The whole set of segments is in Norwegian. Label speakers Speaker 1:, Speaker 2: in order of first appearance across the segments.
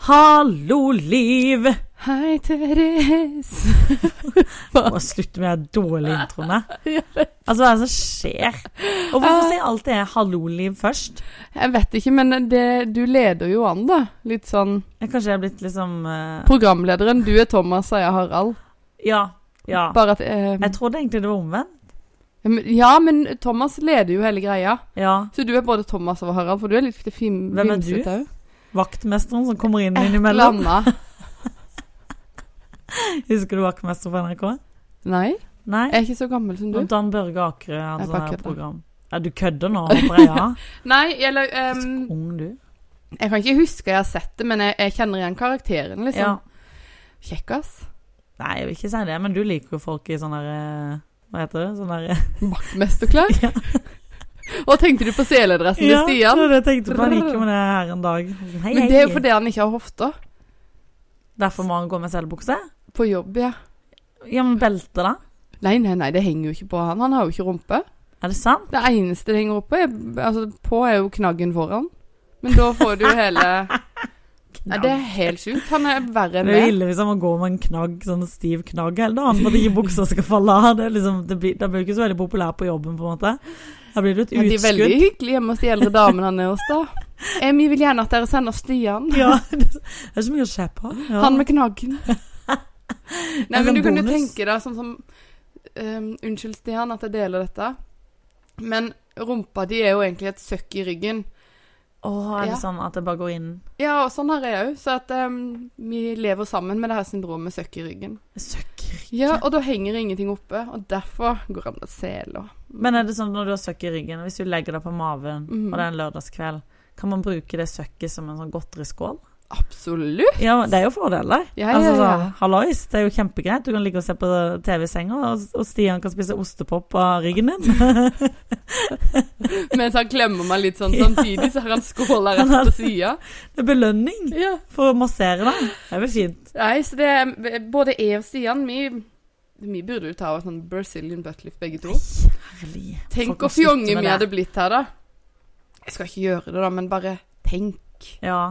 Speaker 1: Hallo, liv!
Speaker 2: Hei, Therese.
Speaker 1: Må slutte med de dårlige introene. Altså, hva er det som skjer? Og hvorfor sier jeg alltid jeg 'hallo, liv' først?
Speaker 2: Jeg vet ikke, men det, du leder jo an, da. Litt sånn
Speaker 1: Jeg, kanskje jeg er blitt liksom eh,
Speaker 2: Programlederen, du er Thomas og jeg er Harald.
Speaker 1: Ja. Ja.
Speaker 2: Bare at eh,
Speaker 1: Jeg trodde egentlig det var omvendt.
Speaker 2: men- Ja, men Thomas leder jo hele greia.
Speaker 1: Ja.
Speaker 2: Så du er både Thomas og Harald, for du er litt fim
Speaker 1: Hvem er du?
Speaker 2: vimsete òg.
Speaker 1: Vaktmesteren som kommer inn
Speaker 2: Et eller
Speaker 1: innimellom.
Speaker 2: annet.
Speaker 1: Husker du Vaktmester på NRK?
Speaker 2: Nei,
Speaker 1: Nei?
Speaker 2: jeg er ikke så gammel som Eh, du.
Speaker 1: Og Dan Børge Akerø hadde
Speaker 2: Jeg
Speaker 1: sånn
Speaker 2: bare
Speaker 1: her
Speaker 2: kødder.
Speaker 1: program. Ja, du kødder nå, håper jeg. Ja.
Speaker 2: Nei, eller
Speaker 1: Du er så
Speaker 2: ehm,
Speaker 1: ung, du.
Speaker 2: Jeg kan ikke huske jeg har sett det, men jeg, jeg kjenner igjen karakteren,
Speaker 1: Ja.
Speaker 2: liksom. Kjekkas.
Speaker 1: Nei, jeg vil ikke si det, men du liker jo folk i sånn her eh, Hva heter det? Sånn her
Speaker 2: Vaktmesterklær.
Speaker 1: Ja.
Speaker 2: Og tenkte du på seledressen til Stian?
Speaker 1: det var det jeg tenkte på. Han gikk jo med det her en dag. Sånn, Hei,
Speaker 2: Men det er jo
Speaker 1: hei.
Speaker 2: fordi han ikke har hofta.
Speaker 1: Derfor må han gå med selbukse?
Speaker 2: På jobb, ja.
Speaker 1: Ja, men belte, da?
Speaker 2: Nei, nei, nei, det henger jo ikke på han. Han har jo ikke rumpe.
Speaker 1: Er det sant?
Speaker 2: Det eneste det henger opp på, er, altså, på er jo knaggen foran. Men da får du jo hele Nei, det er helt sjukt. Han er verre enn
Speaker 1: Det er jo
Speaker 2: meg.
Speaker 1: ille hvis han må gå med en knagg, sånn stiv knagg hele dagen for at ikke buksa skal falle av. Det er liksom, det blir, da blir du ikke så veldig populær på jobben, på en måte. Da blir du et
Speaker 2: Men de er veldig
Speaker 1: utskudd.
Speaker 2: hyggelige hjemme hos de eldre damene han er hos, da. Eh, Vi vil gjerne at dere sender Stian.
Speaker 1: Ja, det er så mye å se på. Ja.
Speaker 2: Han med knaggen. Nei,
Speaker 1: En
Speaker 2: men
Speaker 1: sånn
Speaker 2: du kan jo
Speaker 1: bonus.
Speaker 2: tenke deg sånn som ehm, Unnskyld, Stian, at jeg deler dette. Men rumpa di er jo egentlig et søkk i ryggen.
Speaker 1: Åh, er det
Speaker 2: Ja.
Speaker 1: sånn at det bare går inn
Speaker 2: Ja, og sånn har jeg òg. Så at ehm, vi lever sammen med det her syndromet søkk i ryggen.
Speaker 1: Søkk.
Speaker 2: Ja, og da henger ingenting oppe. Og derfor går han med seler.
Speaker 1: Men er det sånn når du har søkk i ryggen, hvis du legger deg på maven,
Speaker 2: Mhm.
Speaker 1: og det er en lørdagskveld, kan man bruke det søkket som en sånn godteriskål?
Speaker 2: Absolutt!
Speaker 1: Ja, det er jo fordeler.
Speaker 2: Ja,
Speaker 1: altså,
Speaker 2: ja, ja.
Speaker 1: sånn, hallois, det er jo kjempegreit. Du kan ligge og se på TV i senga, og, og Stian kan spise ostepop av ryggen din.
Speaker 2: Mens han klemmer meg litt sånn samtidig, så har han skåla rett på sida.
Speaker 1: det er belønning
Speaker 2: Ja.
Speaker 1: for å massere deg. Det er vel fint.
Speaker 2: Nei, så det er eh, Både jeg og Stian, vi, vi burde jo ta oss sånn Brazilian buttlift begge to.
Speaker 1: Herlig. Folk
Speaker 2: Tenk
Speaker 1: må
Speaker 2: hvor fjonge
Speaker 1: slutte med
Speaker 2: vi
Speaker 1: det.
Speaker 2: hadde blitt her, da. Jeg skal ikke gjøre det, da, men bare tenk.
Speaker 1: Ja.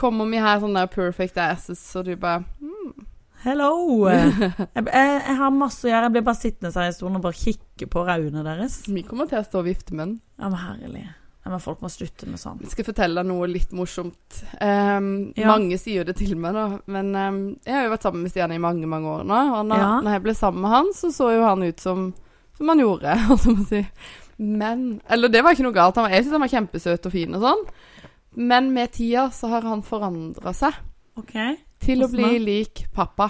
Speaker 2: Kommer vi her sånn der perfect asses, og du bare mm.
Speaker 1: Hello! Jeg, jeg, jeg har masse å gjøre. Jeg blir bare sittende her i stolen og bare kikke på raudene deres.
Speaker 2: Vi kommer til å stå og vifte med den.
Speaker 1: Ja, men herlig. Ja, men folk må slutte med sånn.
Speaker 2: Jeg skal fortelle deg noe litt morsomt. Ehm,
Speaker 1: Ja.
Speaker 2: Mange sier det til meg, da. Men ehm, jeg har jo vært sammen med Stian i mange mange år nå. Og når,
Speaker 1: Ja.
Speaker 2: når jeg ble sammen med han, så så jo han ut som, som han gjorde. holdt jeg på å si. Men Eller det var ikke noe galt. Han var, jeg syns han var kjempesøt og fin og sånn. Men med tida så har han forandra seg
Speaker 1: Ok.
Speaker 2: til å
Speaker 1: Hvordan
Speaker 2: bli
Speaker 1: da?
Speaker 2: lik pappa.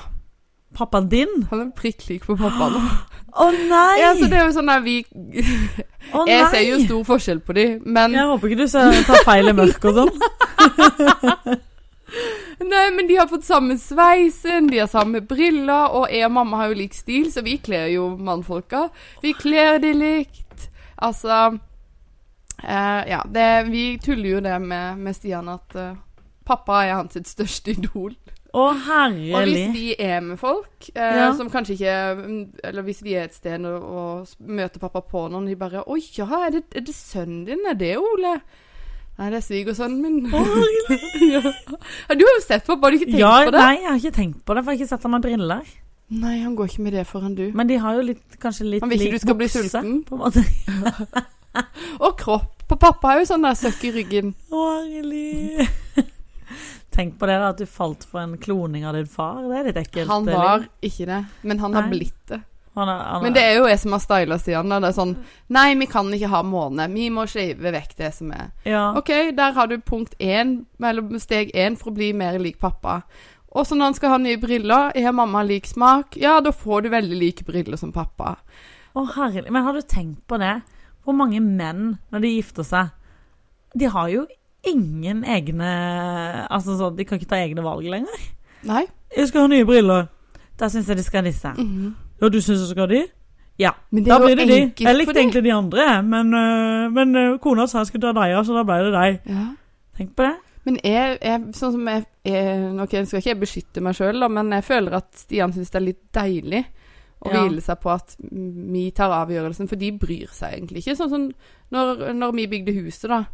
Speaker 1: Pappaen din?
Speaker 2: Han er prikk lik på pappa nå.
Speaker 1: Å nei!
Speaker 2: Ja, så det er jo sånn der vi
Speaker 1: Å,
Speaker 2: Jeg
Speaker 1: nei!
Speaker 2: ser jo sånn- stor forskjell på de, men
Speaker 1: Jeg håper ikke du ser- tar feil i mørket og sånn.
Speaker 2: Nei, men de har fått samme sveisen, de har samme briller, og jeg og mamma har jo lik stil, så vi kler jo mannfolka. Vi kler de likt. Altså eh, Ja, det, vi tuller jo det med, med Stian at eh, pappa er hans sitt største idol.
Speaker 1: Å,
Speaker 2: Og
Speaker 1: herlig.
Speaker 2: hvis vi er med folk eh,
Speaker 1: Ja.
Speaker 2: som kanskje ikke mm, Eller hvis vi er et sted og, og s- møter pappa på noen, de bare 'Å ja, er det, er det sønnen din? Er det Ole?' Nei, det er svigersønnen min.
Speaker 1: Å, herlig.
Speaker 2: ja. Du har jo sett pappa, har du ikke tenkt
Speaker 1: ja,
Speaker 2: på det?
Speaker 1: Nei, jeg har ikke tenkt på det, for jeg har ikke sett han med briller.
Speaker 2: Nei, han går ikke med det foran du.
Speaker 1: Men de har jo litt, kanskje litt
Speaker 2: Han vil ikke
Speaker 1: lik
Speaker 2: du skal bli
Speaker 1: bukse,
Speaker 2: sulten.
Speaker 1: På en måte.
Speaker 2: Og kropp. På pappa er jo sånn der søkk i ryggen.
Speaker 1: Å, herlig. Tenk på det, da, at du falt for en kloning av din far. Det er litt ekkelt.
Speaker 2: Han
Speaker 1: Elin.
Speaker 2: var ikke det, men han har
Speaker 1: Nei.
Speaker 2: blitt det.
Speaker 1: han er, han er,
Speaker 2: Men det er jo jeg som har styla Stian. da. Det er sånn Nei, vi kan ikke ha måne. Vi må shave vekk det som er.
Speaker 1: ja.
Speaker 2: OK, der har du punkt én, eller steg én, for å bli mer lik pappa. Og så når han skal ha nye briller, er mamma lik smak? Ja, da får du veldig like briller som pappa.
Speaker 1: Å, herlig. Men har du tenkt på det? Hvor mange menn, når de gifter seg De har jo ingen egne Altså sånn, de kan ikke ta egne valg lenger.
Speaker 2: Nei.
Speaker 1: 'Jeg skal ha nye briller.' Da syns jeg de skal ha disse.
Speaker 2: Mhm.
Speaker 1: Ja, du syns jeg skal ha de? Ja.
Speaker 2: Men
Speaker 1: Da blir det de.
Speaker 2: enkelt
Speaker 1: Jeg
Speaker 2: for
Speaker 1: likte
Speaker 2: de.
Speaker 1: egentlig de andre, jeg, men, øh, men øh, kona sa jeg skulle ta deg, ja, så da ble det deg.
Speaker 2: Ja.
Speaker 1: Tenk på det.
Speaker 2: Men jeg, jeg, sånn som jeg, jeg Ok, nå skal ikke jeg beskytte meg sjøl, men jeg føler at Stian syns det er litt deilig å
Speaker 1: Ja.
Speaker 2: hvile seg på at vi tar avgjørelsen, for de bryr seg egentlig ikke. Sånn som når, når vi bygde huset, da,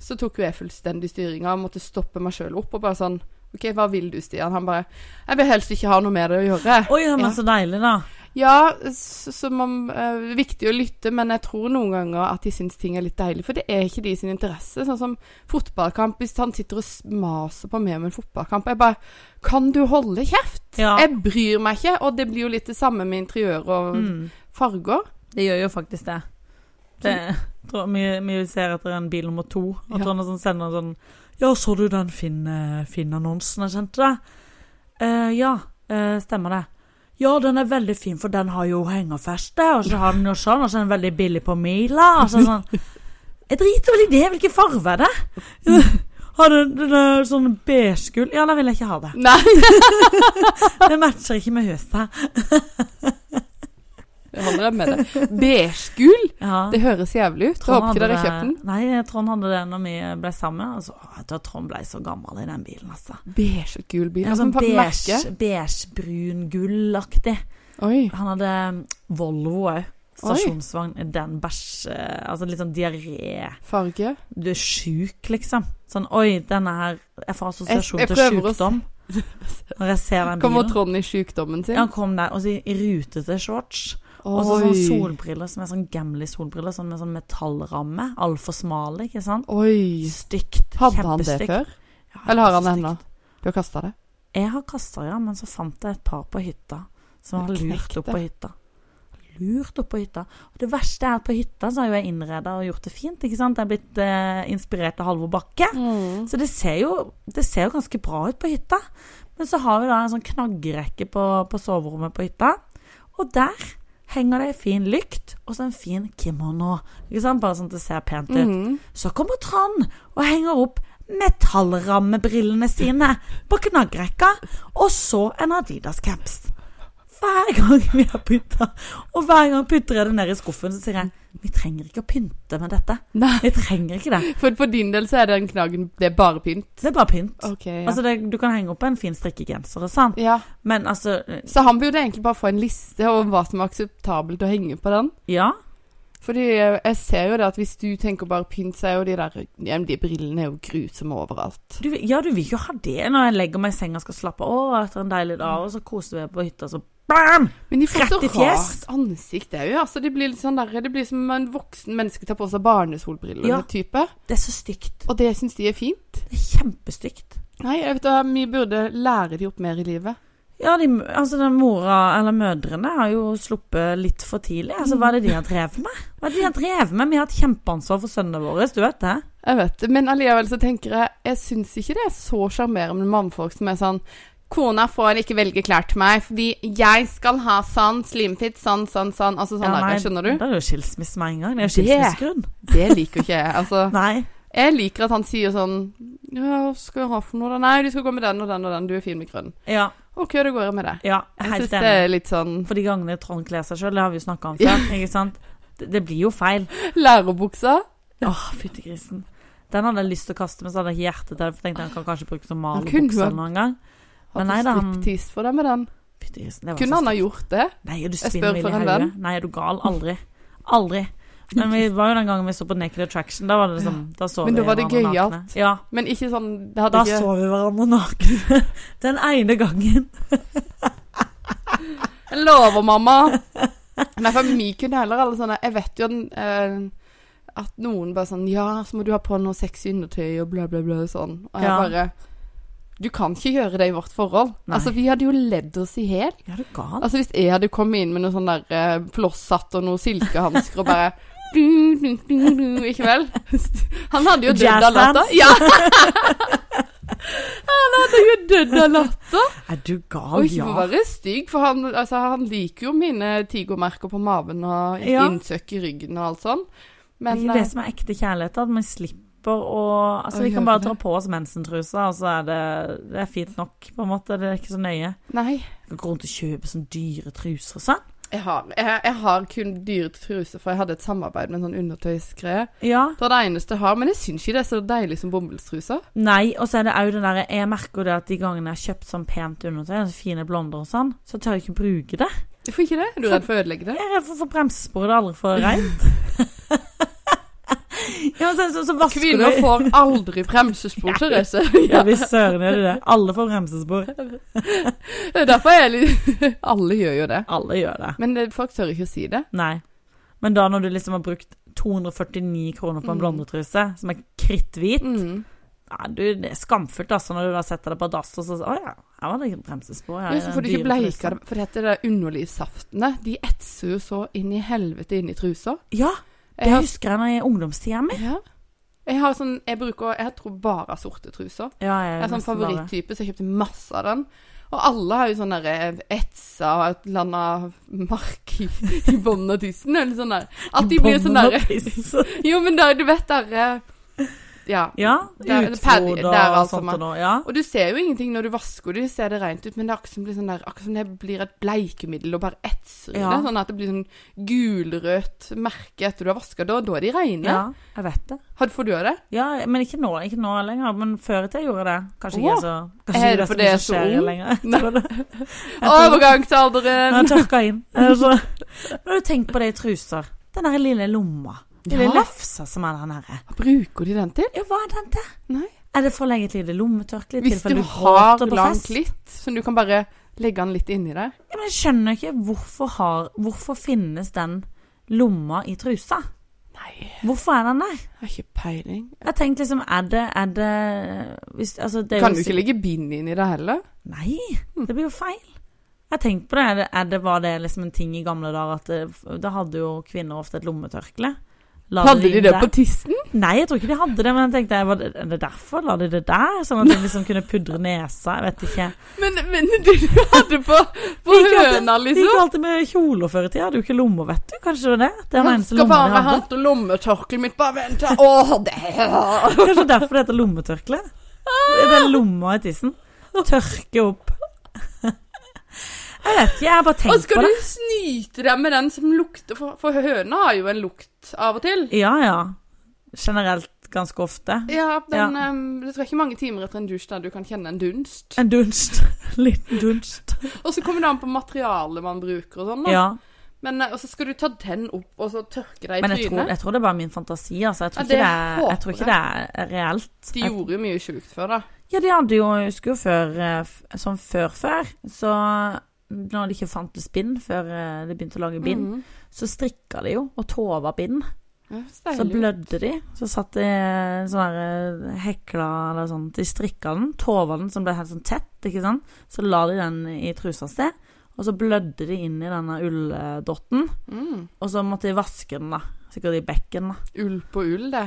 Speaker 2: så tok jo jeg fullstendig styringa og måtte stoppe meg sjøl opp og bare sånn OK, hva vil du, Stian? Han bare Jeg vil helst ikke ha noe med det å gjøre.
Speaker 1: Oi, men
Speaker 2: Ja.
Speaker 1: så deilig, da.
Speaker 2: Ja, s- som om eh, Det er viktig å lytte, men jeg tror noen ganger at de syns ting er litt deilig. For det er ikke de sin interesse. Sånn som fotballkamp. Hvis han sitter og s- maser på meg om en fotballkamp, jeg bare Kan du holde kjeft?
Speaker 1: Ja.
Speaker 2: Jeg bryr meg ikke. Og det blir jo litt det samme med interiør og
Speaker 1: Mm.
Speaker 2: farger.
Speaker 1: Det gjør jo faktisk det. det tror, vi, vi ser etter en bil nummer to, og
Speaker 2: Ja.
Speaker 1: tror han sånn sender en sånn Ja, så du den Finn- eh, Finn-annonsen jeg sendte deg? «Eh, ja, eh, stemmer det. Ja, den er veldig fin, for den har jo hengerfeste, og så har den jo sånn, og så er den veldig billig på mila. Og så er det sånn Jeg driter vel i det, hvilken farge er det? Har du den er sånn beige-gull? Ja, da vil jeg ikke ha det.
Speaker 2: Nei,
Speaker 1: Det matcher ikke med huset.
Speaker 2: det holder jeg med det. Beige-gul?
Speaker 1: Ja.
Speaker 2: Det høres jævlig ut. Jeg håper ikke dere har kjøpt den.
Speaker 1: Nei, Trond hadde det når vi ble sammen. Altså, å, jeg tror Trond ble så gammel i den bilen, altså.
Speaker 2: Beige-gul bil.
Speaker 1: En
Speaker 2: Altså,
Speaker 1: sånn
Speaker 2: på
Speaker 1: beige,
Speaker 2: merket.
Speaker 1: beige brun gullaktig.
Speaker 2: Oi.
Speaker 1: Han hadde mm, Volvo òg.
Speaker 2: Oi.
Speaker 1: Stasjonsvogn. Den bæsj... eh, Altså litt sånn diaré.
Speaker 2: Farge.
Speaker 1: Du er sjuk, liksom. Sånn oi, denne her Jeg får assosiasjon
Speaker 2: Jeg-
Speaker 1: til
Speaker 2: jeg prøver å se-
Speaker 1: sjukdom. Når jeg ser den
Speaker 2: Kommer
Speaker 1: bilen.
Speaker 2: Trond i sjukdommen sin?
Speaker 1: Ja, han kom der, og så i i rutete shorts. Og så sånn solbriller som er sånn Gamli-solbriller, sånn med sånn metallramme. Altfor smale, ikke sant?
Speaker 2: Oi.
Speaker 1: Stygt.
Speaker 2: Hadde han det
Speaker 1: kjempestygt.
Speaker 2: før?
Speaker 1: Ja,
Speaker 2: Eller har han det
Speaker 1: så
Speaker 2: ennå?
Speaker 1: stygt.
Speaker 2: Du har kasta det?
Speaker 1: Jeg har kasta, ja, men så fant jeg et par på hytta. Som har
Speaker 2: Det
Speaker 1: lurt
Speaker 2: knekte.
Speaker 1: opp på hytta. Lurt opp på hytta. Og det verste er at på hytta så har jo jeg innreda og gjort det fint. ikke sant? Jeg er blitt eh, inspirert av Halvor Bakke.
Speaker 2: Mm.
Speaker 1: Så det ser, jo, det ser jo ganske bra ut på hytta. Men så har vi da en sånn knaggerekke på, på soverommet på hytta. Og der henger det ei en fin lykt og så en fin kimono. Ikke sant? Bare sånn at det ser pent ut.
Speaker 2: Mhm.
Speaker 1: Så kommer Trond og henger opp metallrammebrillene sine på knaggrekka, og så en Adidas-caps. Hver gang vi har pynta, og hver gang putter jeg det ned i skuffen, så sier jeg vi trenger ikke å pynte med dette.
Speaker 2: Nei.
Speaker 1: Vi trenger ikke det.
Speaker 2: For for din del så er den knaggen Det er bare pynt.
Speaker 1: Det er bare pynt.
Speaker 2: Ok, ja.
Speaker 1: Altså, det, du kan henge opp en fin strikkegenser, og sant?
Speaker 2: ja.
Speaker 1: men altså
Speaker 2: Så han burde egentlig bare få en liste over hva som er akseptabelt å henge på den.
Speaker 1: Ja.
Speaker 2: Fordi eh, jeg ser jo det at hvis du tenker bare pynt, så er jo de der ja, men De brillene er jo grusomme overalt.
Speaker 1: Du, vil- ja, du vil jo ha det når jeg legger meg i senga og skal slappe av etter en deilig dag, og så koser vi oss på hytta, så bam!
Speaker 2: Men de får så
Speaker 1: Rett i fjes.
Speaker 2: rart ansikt òg. Altså, det blir litt sånn der, det blir som en voksen menneske tar på seg barnesolbriller.
Speaker 1: Ja.
Speaker 2: type.
Speaker 1: Det er så stygt.
Speaker 2: Og det syns de er fint.
Speaker 1: Det er kjempestygt.
Speaker 2: Nei, jeg vet da, vi burde lære de opp mer i livet.
Speaker 1: Ja, de, altså den mora, eller mødrene, har jo sluppet litt for tidlig. Altså, hva er det de har drevet med? Hva er det de har drevet med? Vi har hatt kjempeansvar for sønnene våre, du vet det?
Speaker 2: Jeg vet det, men allikevel så tenker jeg Jeg syns ikke det er så sjarmerende med mannfolk som er sånn Kona får ikke velge klær til meg, fordi jeg skal ha sånn slimfit, sånn, sånn, sånn. Altså sånn der, skjønner du?
Speaker 1: Da er det jo skilsmisse med en gang. Det er jo
Speaker 2: Det-
Speaker 1: skilsmissegrunn.
Speaker 2: Det liker ikke jeg. Altså,
Speaker 1: Nei.
Speaker 2: jeg liker at han sier sånn Ja, hva skal jeg ha for noe da? Nei, du skal gå med den og den og den. Du er fin med grønn.
Speaker 1: Ja,
Speaker 2: OK, da går jeg med det.
Speaker 1: ja
Speaker 2: Jeg
Speaker 1: helt
Speaker 2: syns det
Speaker 1: enig.
Speaker 2: er litt sånn
Speaker 1: For de gangene Trond kler seg sjøl, det har vi jo snakka om før, ikke sant? Det, det blir jo feil.
Speaker 2: lærebuksa.
Speaker 1: Åh, fytti grisen. Den hadde jeg lyst til å kaste, men så hadde jeg ikke hjerte til det, for jeg tenkte han kan kanskje bruke som
Speaker 2: Han kunne
Speaker 1: malebukse
Speaker 2: jo-
Speaker 1: eller noen gang. Men
Speaker 2: Har
Speaker 1: nei
Speaker 2: du
Speaker 1: da, han-
Speaker 2: striptease for deg med den?
Speaker 1: Fytti grisen. Det var så
Speaker 2: Kunne han ha gjort det?
Speaker 1: Nei, er du spinner
Speaker 2: Jeg spør
Speaker 1: vill i
Speaker 2: for en
Speaker 1: hodet?
Speaker 2: venn.
Speaker 1: Nei, er du gal? Aldri. Aldri. Men vi var jo den gangen vi så på Naked Attraction. Da var det liksom Da så
Speaker 2: Men
Speaker 1: vi
Speaker 2: da var det
Speaker 1: hverandre
Speaker 2: gøyalt.
Speaker 1: nakne. Ja.
Speaker 2: Men ikke sånn Det hadde
Speaker 1: Da
Speaker 2: ikke
Speaker 1: så vi hverandre nakne. Den ene gangen.
Speaker 2: Jeg lover, mamma. Nei, for vi kunne heller alle sånne Jeg vet jo eh, at noen bare sånn Ja, så må du ha på noe sexy undertøy og bla, bla, bla og sånn. Og jeg
Speaker 1: Ja.
Speaker 2: bare Du kan ikke gjøre det i vårt forhold.
Speaker 1: Nei.
Speaker 2: Altså, vi hadde jo ledd oss i hjel.
Speaker 1: Ja, er du gal?
Speaker 2: Altså, hvis jeg hadde kommet inn med noe sånn der eh, flosshatt og noe silkehansker og bare du, du, du, du, Ikke vel? Han hadde jo dødd av
Speaker 1: Jazzbands.
Speaker 2: latter. Ja! Han hadde jo dødd av latter.
Speaker 1: Er du
Speaker 2: Og
Speaker 1: gal?
Speaker 2: ikke for å
Speaker 1: Ja.
Speaker 2: være stygg, for han, altså, han liker jo mine tigermerker på maven og
Speaker 1: Ja.
Speaker 2: innsøk i ryggen og alt sånn.
Speaker 1: Det er
Speaker 2: Men
Speaker 1: ikke det
Speaker 2: eh,
Speaker 1: som er ekte kjærlighet, at man slipper å Altså,
Speaker 2: Å
Speaker 1: vi kan
Speaker 2: gjøre
Speaker 1: bare
Speaker 2: det.
Speaker 1: ta på oss mensentrusa, og så er det Det er fint nok, på en måte. Det er ikke så nøye.
Speaker 2: nei.
Speaker 1: Jeg kan gå rundt og kjøpe sånne dyre truser og sånn.
Speaker 2: Jeg har, jeg, jeg har kun dyre truser, for jeg hadde et samarbeid med en sånn undertøysgreie.
Speaker 1: Ja.
Speaker 2: Det er det eneste jeg har, men jeg syns ikke det er så deilig som bomullstruser.
Speaker 1: Nei, og så er det òg den derre Jeg merker jo det at de gangene jeg har kjøpt sånn pent undertøy, altså fine blonder og sånn, så tør jeg ikke bruke det.
Speaker 2: Hvorfor ikke det? Er du redd for å ødelegge det?
Speaker 1: Jeg er redd for å få bremsesporet aldri for reint. ja, men så, så, så vasker
Speaker 2: Kvinner
Speaker 1: du
Speaker 2: får aldri bremsespor, Therese.
Speaker 1: Ja visst søren gjør de det. Alle får bremsespor.
Speaker 2: Det er derfor jeg er litt Alle gjør jo det.
Speaker 1: Alle gjør det.
Speaker 2: Men det, folk tør ikke å si det.
Speaker 1: Nei. Men da når du liksom har brukt 249 kroner på en
Speaker 2: Mm.
Speaker 1: blondetruse som er kritthvit
Speaker 2: Mm.
Speaker 1: ja, du, Det er skamfullt altså, når du da setter deg på dass og så Å ja, her var det ikke bremsespor. her
Speaker 2: Ja,
Speaker 1: er
Speaker 2: så
Speaker 1: den
Speaker 2: får du ikke
Speaker 1: dyre trusa.»
Speaker 2: bleika det. For dette er de underlige saftene. De etser jo så inn i helvete inn i trusa.
Speaker 1: Ja,
Speaker 2: Jeg
Speaker 1: det
Speaker 2: har-
Speaker 1: husker jeg når jeg er i ungdomstida mi.
Speaker 2: Ja. Jeg har sånn Jeg bruker Jeg tror bare sorte truser.
Speaker 1: Ja, jeg,
Speaker 2: Jeg
Speaker 1: er
Speaker 2: er sånn
Speaker 1: nesten bare-
Speaker 2: favoritttype, så jeg kjøpte masse av den. Og alle har jo sånn der etsa et eller annet mark i, i bånden av tissen. Eller sånn der. At de blir sånn
Speaker 1: Bånd
Speaker 2: der
Speaker 1: og piss.
Speaker 2: Jo, men der, du vet der eh, Ja.
Speaker 1: Ja,
Speaker 2: Der-
Speaker 1: utflod
Speaker 2: der,
Speaker 1: og
Speaker 2: alt
Speaker 1: sånt
Speaker 2: sammen.
Speaker 1: og noe. Ja.
Speaker 2: Og du ser jo ingenting når du vasker det, ser det rent ut, men det er akkurat som, blir sånn der, akkurat som det blir et bleikemiddel og bare etser i
Speaker 1: Ja.
Speaker 2: det. Sånn at det blir sånn gulrødt merke etter du har vaska det, og da er de reine.
Speaker 1: ja, jeg vet det.
Speaker 2: Har- Får du gjøre det?
Speaker 1: Ja, men ikke nå, ikke nå lenger. Men før i tida gjorde jeg det. Kanskje
Speaker 2: Åh.
Speaker 1: ikke så Kanskje
Speaker 2: Er det
Speaker 1: ikke
Speaker 2: fordi jeg er så
Speaker 1: skjer
Speaker 2: ung?
Speaker 1: lenger. Jeg
Speaker 2: Nei.
Speaker 1: tror det. Jeg tror det.
Speaker 2: Overgangsalderen!
Speaker 1: Jeg tørka inn. Jeg så- Men du tenk på det i truser. Den der lille lomma. Den Lille
Speaker 2: Ja.
Speaker 1: lefsa som er den herre.
Speaker 2: Hva bruker de den til?
Speaker 1: Ja, hva er den til?
Speaker 2: Nei.
Speaker 1: Er det for å legge et lite lommetørkle? i
Speaker 2: Hvis
Speaker 1: tilfelle
Speaker 2: du
Speaker 1: gråter
Speaker 2: har
Speaker 1: på
Speaker 2: langt
Speaker 1: fest?
Speaker 2: litt, så du kan bare legge den litt inni deg.
Speaker 1: Ja, men jeg skjønner ikke hvorfor, har, hvorfor finnes den lomma i trusa?
Speaker 2: Nei,
Speaker 1: Hvorfor er den der?
Speaker 2: jeg har ikke peiling.
Speaker 1: Jeg tenkte liksom, er det, er det, hvis, altså, det er
Speaker 2: Kan
Speaker 1: jo
Speaker 2: du ikke
Speaker 1: sikkert-
Speaker 2: legge bind inni det heller?
Speaker 1: Nei, det blir jo feil. Jeg har tenkt på det. Er det, er det. Var det liksom en ting i gamle dager at det, da hadde jo kvinner ofte et lommetørkle? La
Speaker 2: Hadde de
Speaker 1: inn
Speaker 2: det
Speaker 1: der.
Speaker 2: på tissen?
Speaker 1: Nei, jeg tror ikke de hadde det, men jeg tenkte var det, er det derfor? La de det der? Sånn at de liksom kunne pudre nesa? Jeg vet ikke.
Speaker 2: Men, men du hadde på, på
Speaker 1: Ikke at det-
Speaker 2: høna,
Speaker 1: De gikk
Speaker 2: liksom?
Speaker 1: jo alltid med kjoler før i tida. Hadde jo ikke lommer, vet du. Kanskje det var det? Det var den
Speaker 2: Jeg
Speaker 1: eneste
Speaker 2: skal
Speaker 1: lomma de
Speaker 2: bare ha
Speaker 1: hadde.
Speaker 2: hatt lommetørkleet mitt, bare vent her. Åh, det
Speaker 1: Kanskje derfor det heter lommetørkle? Det er lomma i tissen. Tørke opp. Jeg vet ikke, jeg har bare
Speaker 2: Og
Speaker 1: tenkt på
Speaker 2: skal
Speaker 1: det.
Speaker 2: du snyte deg med den som lukter For, for høna har jo en lukt av og til.
Speaker 1: Ja, ja. Generelt ganske ofte.
Speaker 2: Ja, den, em, Det tror jeg ikke mange timer etter en dusj der du kan kjenne en dunst.
Speaker 1: En dunst. Liten dunst.
Speaker 2: Og så kommer det an på materialet man bruker og sånn. da.
Speaker 1: Ja.
Speaker 2: Men, eh, og så skal du ta den opp og så tørke deg i
Speaker 1: Men jeg tror,
Speaker 2: trynet.
Speaker 1: jeg tror det er bare min fantasi, altså. Jeg tror,
Speaker 2: Ja,
Speaker 1: ikke,
Speaker 2: det
Speaker 1: det er, jeg
Speaker 2: håper
Speaker 1: tror ikke det er reelt.
Speaker 2: De gjorde jo mye sjukt før, da.
Speaker 1: Ja, de hadde jo Jeg husker jo før eh, f- Sånn før før, så når de ikke fant spinn før eh, de begynte å lage bind,
Speaker 2: Mhm.
Speaker 1: så strikka de jo og tova bind.
Speaker 2: Ja, så
Speaker 1: Så
Speaker 2: deilig.
Speaker 1: blødde de. Så satt de eh, sånn her eh, hekla eller sånn De strikka den, tova den, som ble helt sånn tett, ikke sant. Så la de den i trusa si, og så blødde de inn i denne ulldotten.
Speaker 2: Mm.
Speaker 1: Og så måtte de vaske den, da. Sikkert i bekken, da.
Speaker 2: Ull på ull, det.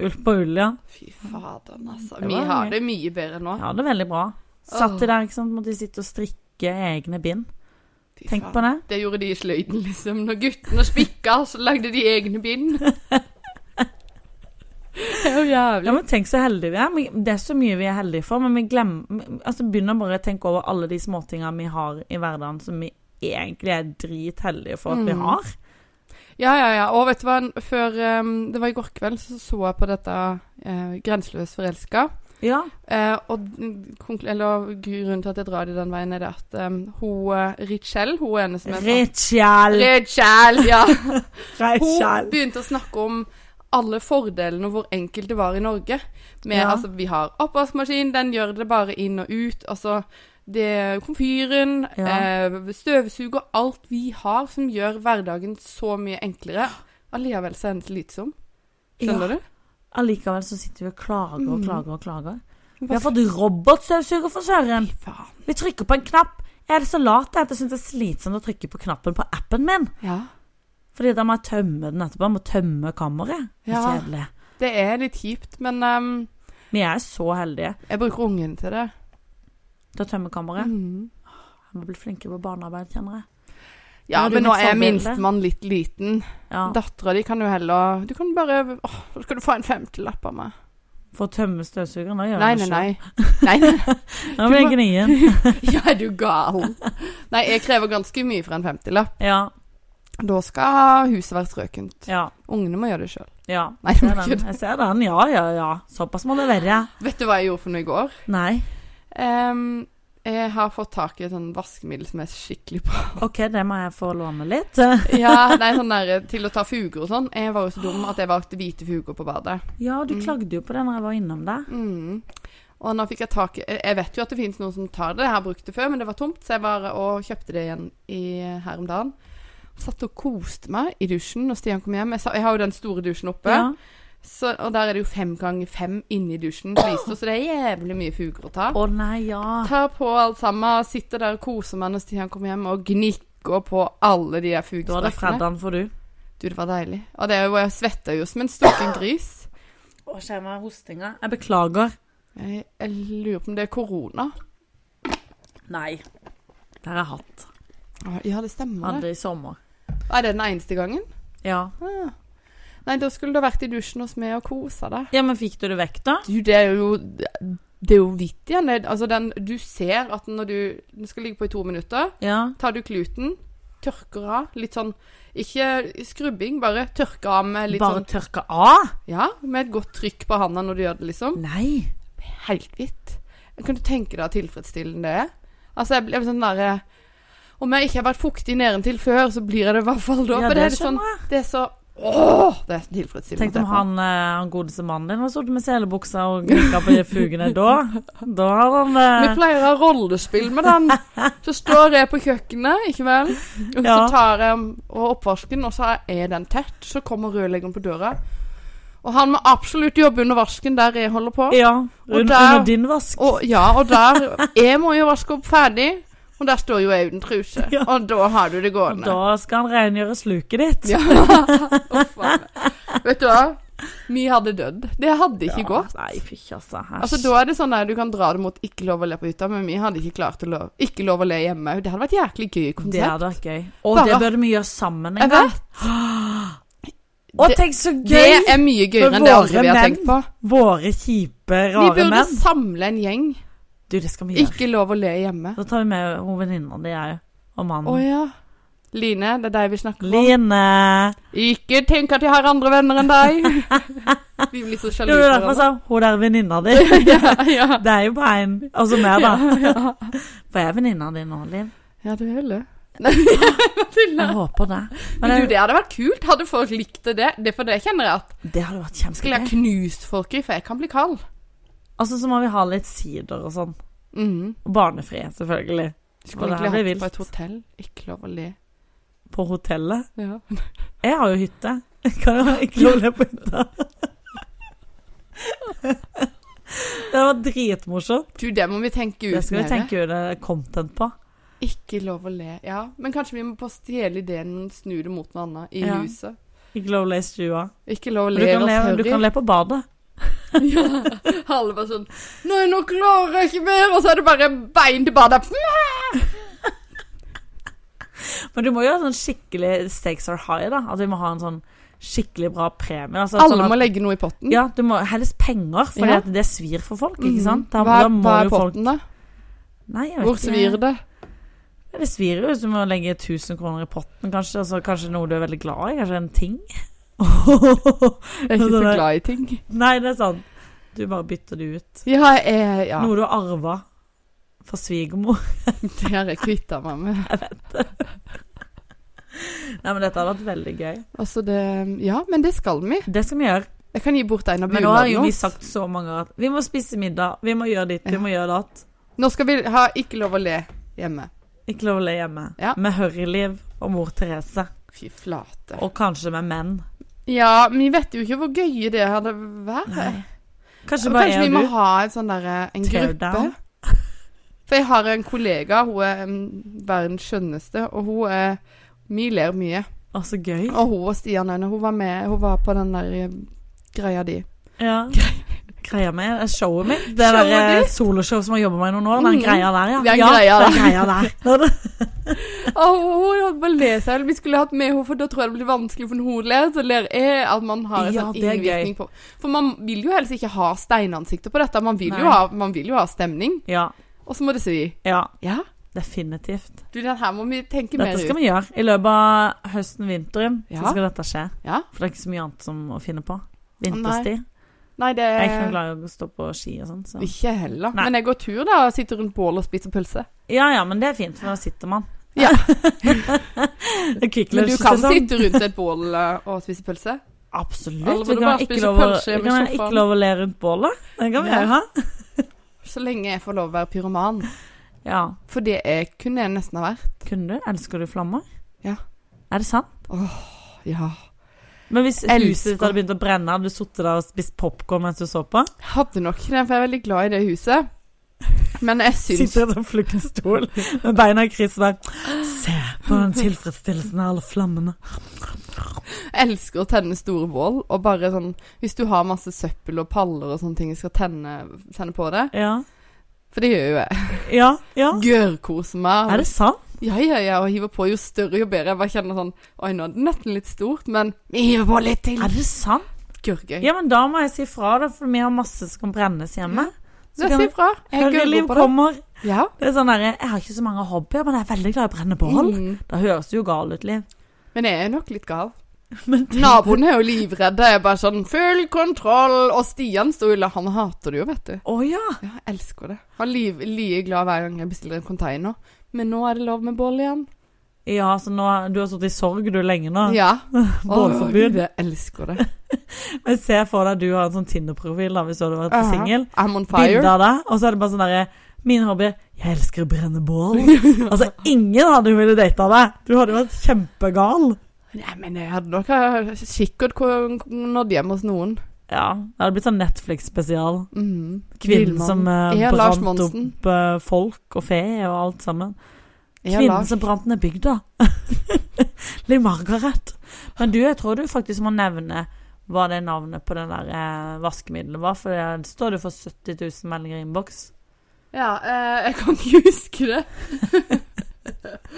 Speaker 1: Ull på ull, ja.
Speaker 2: Fy faderen, altså.
Speaker 1: Det
Speaker 2: Vi
Speaker 1: var
Speaker 2: har
Speaker 1: mye.
Speaker 2: det mye bedre nå.
Speaker 1: Ja, det er veldig bra. Satt de der, ikke sant. Måtte de sitte og strikke egne bind.
Speaker 2: Fy
Speaker 1: Tenk
Speaker 2: faen.
Speaker 1: på det.
Speaker 2: Det gjorde de i sløyden, liksom. Når guttene spikka, så lagde de egne bind. Det er jo
Speaker 1: Ja,
Speaker 2: jævlig.
Speaker 1: men Tenk så heldige vi er. Men Det er så mye vi er heldige for, men vi glemmer altså begynner bare å tenke over alle de småtinga vi har i hverdagen som vi egentlig er dritheldige for at vi
Speaker 2: Mm.
Speaker 1: har.
Speaker 2: Ja, ja, ja. Og vet du hva, før em, Det var i går kveld, så så jeg på dette eh, Grenseløs forelska.
Speaker 1: Ja.
Speaker 2: Eh, og den konkl- eller, grunnen til at jeg drar det den veien, er det at em, hun eh, Richelle, hun er ene som er
Speaker 1: Rachel!
Speaker 2: Richelle, ja. Hun
Speaker 1: Rachel!
Speaker 2: begynte å snakke om alle fordelene og hvor enkelt det var i Norge. Med,
Speaker 1: Ja.
Speaker 2: altså, vi har oppvaskmaskin, den gjør det bare inn og ut. Altså, det er komfyren,
Speaker 1: Ja.
Speaker 2: eh, støvsuger, alt vi har som gjør hverdagen så mye enklere. Allikevel så er den slitsom. Skjønner du?
Speaker 1: Allikevel så sitter vi og klager og
Speaker 2: Mm.
Speaker 1: klager og klager. Vi
Speaker 2: Hva
Speaker 1: har fått robotstøvsuger for søren!
Speaker 2: Fy faen.
Speaker 1: Vi trykker på en knapp. Jeg er så lat jeg, at jeg syns det er slitsomt å trykke på knappen på appen min.
Speaker 2: Ja.
Speaker 1: Fordi da må jeg tømme den etterpå. Jeg må tømme kammeret. Det er
Speaker 2: Ja.
Speaker 1: Kjedelig.
Speaker 2: Det er litt kjipt, men em,
Speaker 1: Vi er så heldige
Speaker 2: jeg bruker ungen til det.
Speaker 1: til å tømme kammeret.
Speaker 2: Mhm.
Speaker 1: Jeg må bli flinkere på barnearbeid, kjenner jeg.
Speaker 2: Ja,
Speaker 1: Ja, du
Speaker 2: men
Speaker 1: må
Speaker 2: nå er
Speaker 1: forberede.
Speaker 2: minstemann litt liten.
Speaker 1: Ja.
Speaker 2: Dattera di kan jo heller Du kan bare Åh, så skal du få en femtilapp av meg.
Speaker 1: For å tømme støvsugeren? da gjør
Speaker 2: Nei,
Speaker 1: jeg
Speaker 2: nei,
Speaker 1: det
Speaker 2: nei. nei, nei.
Speaker 1: selv. Nå blir jeg gnien.
Speaker 2: Ja, er du gal? Nei, jeg krever ganske mye for en femtilapp.
Speaker 1: Ja.
Speaker 2: Da skal huset være strøkent.
Speaker 1: Ja.
Speaker 2: Ungene må gjøre det sjøl.
Speaker 1: Ja.
Speaker 2: Nei,
Speaker 1: Jeg
Speaker 2: det
Speaker 1: ser
Speaker 2: må ikke
Speaker 1: den.
Speaker 2: det.
Speaker 1: Jeg ser den. Ja, ja, ja. Såpass må det være.
Speaker 2: Vet du hva jeg gjorde for noe i går?
Speaker 1: Nei.
Speaker 2: Em, Jeg har fått tak i et sånn vaskemiddel som er skikkelig bra.
Speaker 1: OK, det må jeg få låne litt.
Speaker 2: Ja, nei, sånn der, Til å ta fuger og sånn. Jeg var jo så dum at jeg valgte hvite fuger på badet.
Speaker 1: Ja, du klagde jo på det når jeg var innom deg.
Speaker 2: Mm. Og nå fikk jeg tak i Jeg vet jo at det finnes noen som tar det. Jeg har brukt det før, men det var tomt, så jeg bare og kjøpte det igjen i, her om dagen. Satt og koste meg i dusjen når Stian kom hjem. Jeg, sa, jeg har jo den store dusjen oppe.
Speaker 1: Ja.
Speaker 2: Så, og der er det jo fem ganger fem inni dusjen, lyst, så det er jævlig mye fuger å ta.
Speaker 1: Å nei, ja.
Speaker 2: Tar på alt sammen, sitter der og koser meg når Stian kommer hjem, og gnikker på alle de
Speaker 1: Da
Speaker 2: der
Speaker 1: er det
Speaker 2: fugesprekkene.
Speaker 1: fredagen for du.
Speaker 2: Du, det var deilig. Og det er jo, jeg svetta jo som en stukken gris.
Speaker 1: Å, skjer meg hostinga. Jeg beklager.
Speaker 2: Jeg, jeg lurer på om det er korona.
Speaker 1: Nei. Det har jeg hatt.
Speaker 2: Å, Ja, det stemmer. det.
Speaker 1: Hadde i sommer.
Speaker 2: Er det den eneste gangen?
Speaker 1: Ja.
Speaker 2: Ah. Nei, da skulle du ha vært i dusjen hos meg og kosa deg.
Speaker 1: ja, men fikk du det vekk, da?
Speaker 2: Du, det er jo Det er jo vitt igjen. Det- Altså, den Du ser at når du Den skal ligge på i to minutter.
Speaker 1: Ja.
Speaker 2: Tar du kluten, tørker av litt sånn Ikke skrubbing, bare tørker av med litt
Speaker 1: Bare
Speaker 2: sånn
Speaker 1: tørke av?
Speaker 2: Ja, med et godt trykk på handa når du gjør det, liksom.
Speaker 1: Nei.
Speaker 2: Helt hvitt. Kan du tenke deg hvor tilfredsstillende det er? Altså, jeg blir sånn derre Om jeg ikke har vært fuktig nedentil før, så blir jeg det i hvert fall da.
Speaker 1: Ja,
Speaker 2: for det,
Speaker 1: det
Speaker 2: er litt sånn
Speaker 1: skjønner jeg.
Speaker 2: Det er så Åh! Det er så tilfredsstillende.
Speaker 1: Tenk om
Speaker 2: å se på.
Speaker 1: han, eh, han godeste mannen din hadde sittet med selebuksa og gikka på fugene da. Da hadde han
Speaker 2: Vi
Speaker 1: eh,
Speaker 2: pleier å ha rollespill med den. Så står jeg på kjøkkenet, ikke vel. Og så
Speaker 1: Ja.
Speaker 2: tar jeg og oppvasken, og så er den tett. Så kommer rørleggeren på døra. Og han må absolutt jobbe under vasken der jeg holder på.
Speaker 1: Ja,
Speaker 2: Og
Speaker 1: rundt
Speaker 2: der-
Speaker 1: under din vask.
Speaker 2: Og ja, og der Jeg må jo vaske opp ferdig, og der står jo jeg uten truse.
Speaker 1: Ja.
Speaker 2: Og da har du det
Speaker 1: Og
Speaker 2: gående.
Speaker 1: da skal han rengjøre sluket ditt.
Speaker 2: Ja. Å, faen. Vet du hva? Vi hadde dødd. Det hadde ikke gått.
Speaker 1: Nei, fysj, altså. Æsj.
Speaker 2: Altså, da er det sånn at du kan dra det mot ikke lov å le på hytta, men vi hadde ikke klart å lov, ikke lov å le hjemme. Det hadde vært jæklig gøy
Speaker 1: det
Speaker 2: konsept.
Speaker 1: hadde vært gøy. Og
Speaker 2: Bare-
Speaker 1: det burde vi gjøre sammen en
Speaker 2: Jeg
Speaker 1: gang.
Speaker 2: vet.
Speaker 1: Å,
Speaker 2: Det-
Speaker 1: tenk så
Speaker 2: Det
Speaker 1: gøy!
Speaker 2: er mye gøyere
Speaker 1: Men
Speaker 2: enn det andre
Speaker 1: våre
Speaker 2: vi har
Speaker 1: menn,
Speaker 2: tenkt på.
Speaker 1: Våre kjipe,
Speaker 2: Vi
Speaker 1: rare
Speaker 2: burde
Speaker 1: menn.
Speaker 2: samle en gjeng.
Speaker 1: Du, det skal vi gjøre.
Speaker 2: Ikke lov å le hjemme.
Speaker 1: Da tar vi med hun venninna di òg. Og
Speaker 2: Å
Speaker 1: mannen.
Speaker 2: ja. Line, det er deg vi snakker om.
Speaker 1: Line!
Speaker 2: Ikke tenk at jeg har andre venner enn deg. Vi blir så
Speaker 1: Det
Speaker 2: sjalu
Speaker 1: var jo
Speaker 2: på
Speaker 1: derfor jeg
Speaker 2: hverandre.
Speaker 1: sa hun der venninna di.
Speaker 2: Ja, ja.
Speaker 1: Det er jo bare en Altså meg, da. For jeg er venninna di nå, Liv.
Speaker 2: ja, du er det.
Speaker 1: Jeg håper det. Men
Speaker 2: Men du,
Speaker 1: det,
Speaker 2: det hadde vært kult. Hadde folk likt det? Det er for det kjenner jeg at
Speaker 1: det hadde vært
Speaker 2: Skulle jeg
Speaker 1: kjempegøy.
Speaker 2: knust folk i, for jeg kan bli kald.
Speaker 1: Altså, så må vi ha litt sider og sånn.
Speaker 2: Mhm.
Speaker 1: Og barnefri, selvfølgelig.
Speaker 2: Skulle
Speaker 1: Og det
Speaker 2: egentlig
Speaker 1: her blir
Speaker 2: hatt det på
Speaker 1: vilt.
Speaker 2: et hotell. Ikke lov å le.
Speaker 1: På hotellet.
Speaker 2: Ja.
Speaker 1: Jeg har jo hytte. Jeg kan jo ikke lov å le på hytta. Det var dritmorsomt.
Speaker 2: Du, det må vi tenke ut
Speaker 1: Det skal vi
Speaker 2: mer.
Speaker 1: tenke ut eh, content på.
Speaker 2: Ikke lov å le. Ja, men kanskje vi må bare stjele ideen og snu det mot noe annet i
Speaker 1: Ja.
Speaker 2: huset.
Speaker 1: Ikke lov å le i stua.
Speaker 2: Ikke lov
Speaker 1: Men
Speaker 2: å le
Speaker 1: Du kan
Speaker 2: oss
Speaker 1: le, du
Speaker 2: høyre.
Speaker 1: kan le på badet.
Speaker 2: ja. Alle bare sånn Nei, nå klarer jeg ikke mer! Og så er det bare bein til badet.
Speaker 1: Men du må jo ha sånn skikkelig stakes are high, da. At vi må ha en sånn skikkelig bra premie. Altså, sånn
Speaker 2: Alle
Speaker 1: at-
Speaker 2: må legge noe i potten.
Speaker 1: Ja, du må helst penger, for
Speaker 2: Ja. Mm.
Speaker 1: det svir for folk, ikke sant? Da,
Speaker 2: Hva,
Speaker 1: da
Speaker 2: er-
Speaker 1: må
Speaker 2: hva er
Speaker 1: jo folk
Speaker 2: potten, da?
Speaker 1: Nei, jeg vet
Speaker 2: Hvor
Speaker 1: ikke.
Speaker 2: svir det?
Speaker 1: Ja, Det svir jo hvis du må legge 1000 kroner i potten, kanskje. Altså, kanskje noe du er veldig glad i. Kanskje en ting.
Speaker 2: Jeg er ikke så glad i ting.
Speaker 1: Nei, det er sant. Du bare bytter det ut.
Speaker 2: Ja, jeg, ja.
Speaker 1: Noe du har arva fra svigermor.
Speaker 2: det har jeg kvitta meg med.
Speaker 1: Nei, men dette hadde vært veldig gøy.
Speaker 2: Altså det, ja, men det skal vi.
Speaker 1: Det skal vi gjøre.
Speaker 2: Jeg kan gi bort en av
Speaker 1: Men nå har jo
Speaker 2: bunadene
Speaker 1: vi
Speaker 2: våre.
Speaker 1: sagt så mange ganger at vi må spise middag, vi må gjøre ditt, vi må gjøre datt.
Speaker 2: Nå skal vi ha ikke lov å le hjemme.
Speaker 1: Ikke lov å le hjemme.
Speaker 2: Ja.
Speaker 1: Med Hørriliv og mor Therese.
Speaker 2: Fy flate.
Speaker 1: Og kanskje med menn.
Speaker 2: Ja, vi vet jo ikke hvor gøy det hadde vært.
Speaker 1: Kanskje bare
Speaker 2: Kanskje vi
Speaker 1: jeg
Speaker 2: må
Speaker 1: og du.
Speaker 2: ha et sånn derre en gruppe.
Speaker 1: Teardown.
Speaker 2: For jeg har en kollega, hun er mm, verdens skjønneste, og hun er Vi ler mye.
Speaker 1: Å, så gøy.
Speaker 2: Og hun og Stian Aune, hun var med, hun var på den der eh, greia di.
Speaker 1: Ja. Greia mi, eh, showet mitt, det
Speaker 2: Showet
Speaker 1: der eh,
Speaker 2: ditt.
Speaker 1: soloshow som jeg jobber med i noen år, den
Speaker 2: Mm.
Speaker 1: greia der, ja.
Speaker 2: Den
Speaker 1: ja,
Speaker 2: greia
Speaker 1: den greia der. Når det-
Speaker 2: Å, hun hun holdt på å le seg. Vi skulle hatt med henne, for da tror jeg det blir vanskelig for når hun ler. Så ler jeg at man har en
Speaker 1: Ja,
Speaker 2: sånn
Speaker 1: det er
Speaker 2: innvirkning på For man vil jo helst ikke ha steinansikter på dette. Man vil,
Speaker 1: Nei.
Speaker 2: jo ha, man vil jo ha stemning.
Speaker 1: Ja,
Speaker 2: Og så må det svi.
Speaker 1: ja,
Speaker 2: Ja.
Speaker 1: definitivt.
Speaker 2: Du, den her må vi tenke
Speaker 1: Dette
Speaker 2: mer
Speaker 1: skal
Speaker 2: ut.
Speaker 1: vi gjøre. I løpet av høsten, vinteren,
Speaker 2: Ja.
Speaker 1: så skal dette skje.
Speaker 2: Ja.
Speaker 1: For det er ikke så mye annet som å finne på. Vinterstid.
Speaker 2: Nei, det
Speaker 1: Jeg er ikke noe glad i å stå på ski og sånn. Så.
Speaker 2: Ikke heller.
Speaker 1: Nei.
Speaker 2: Men jeg går tur, da, og sitter rundt bål og spiser pølse.
Speaker 1: Ja ja, men det er fint, for da sitter man.
Speaker 2: Ja.
Speaker 1: Det er Kvikk
Speaker 2: Men du kan
Speaker 1: Lunsj-sesong.
Speaker 2: sitte rundt et bål eh, og spise pølse. Alle
Speaker 1: Absolutt. Vi
Speaker 2: burde bare
Speaker 1: kan ikke
Speaker 2: spise
Speaker 1: lov å,
Speaker 2: pølse
Speaker 1: vi
Speaker 2: hjemme i
Speaker 1: kan ikke
Speaker 2: sofaen.
Speaker 1: lov å le rundt bålet. Det kan vi
Speaker 2: Nei.
Speaker 1: gjøre.
Speaker 2: Så lenge jeg får lov å være pyroman.
Speaker 1: Ja.
Speaker 2: For det jeg kunne jeg nesten ha vært.
Speaker 1: Kunne du? Elsker du flammer?
Speaker 2: Ja.
Speaker 1: Er det sant?
Speaker 2: Ja.
Speaker 1: Men hvis
Speaker 2: Elsker.
Speaker 1: huset ditt hadde begynt å brenne, hadde du sittet der og spist popkorn mens du så på?
Speaker 2: Jeg hadde nok ikke det, for jeg er veldig glad i det huset. Men jeg syns
Speaker 1: Sitter i en fluktstol med beina i kryss og bare Se på den tilfredsstillelsen av alle flammene.
Speaker 2: Jeg elsker å tenne store bål, og bare sånn Hvis du har masse søppel og paller og sånne ting jeg skal tenne, tenne på det
Speaker 1: Ja.
Speaker 2: For det gjør jo jeg.
Speaker 1: Ja. ja.
Speaker 2: Gørrkoser meg.
Speaker 1: Ah. Er det sant?
Speaker 2: Ja, ja, ja, og hiver på jo større, jo bedre. Jeg bare kjenner sånn Oi, nå er det nesten litt stort, men vi hiver på litt til.
Speaker 1: Er det sant?
Speaker 2: Gørrgøy.
Speaker 1: Ja, men da må jeg si fra, da, for vi har masse som kan brennes hjemme. Så
Speaker 2: Så si
Speaker 1: kan
Speaker 2: ifra. Jeg
Speaker 1: Høreliv
Speaker 2: gørrer på det.
Speaker 1: kommer.
Speaker 2: Ja.
Speaker 1: Det er sånn derre Jeg har ikke så mange hobbyer, men jeg er veldig glad i å brenne bål.
Speaker 2: Mm.
Speaker 1: Da høres du jo gal ut, Liv.
Speaker 2: Men jeg er nok litt gal.
Speaker 1: Men tenk-
Speaker 2: Naboen er jo livredde. Jeg er bare sånn Full kontroll! Og Stian sto jo Han hater det jo, vet du.
Speaker 1: Å ja.
Speaker 2: Ja, jeg elsker det. Han er like glad hver gang jeg bestiller en container. Men nå er det lov med bål igjen.
Speaker 1: Ja, så nå, du har sittet i sorg du lenge nå.
Speaker 2: Ja.
Speaker 1: Ah. Bålforbud.
Speaker 2: Åh, Jeg elsker det.
Speaker 1: Men se for deg at du har en sånn Tinder-profil da, hvis du hadde vært singel.
Speaker 2: I'm on fire.
Speaker 1: Bilde av deg, og så er det bare sånn derre Min hobby Jeg elsker å brenne bål. altså, ingen hadde jo villet date deg. Du hadde jo vært kjempegal.
Speaker 2: Nei, men jeg hadde nok eh, sikkert ko- nådd hjem hos noen.
Speaker 1: Ja. Det hadde blitt sånn Netflix-spesial.
Speaker 2: Mm.
Speaker 1: Kvinnen
Speaker 2: Villmann.
Speaker 1: som eh,
Speaker 2: Ja, Lars
Speaker 1: brant opp
Speaker 2: Monsen.
Speaker 1: eh, folk og fe og alt sammen.
Speaker 2: Ja,
Speaker 1: Kvinnen
Speaker 2: Lars.
Speaker 1: som brant ned bygda. Liv Margaret. Men du, jeg tror du faktisk må nevne hva det navnet på den der eh, vaskemiddelet var, for det står det for 70 000 meldinger i innboks.
Speaker 2: Ja, eh, jeg kan ikke huske det.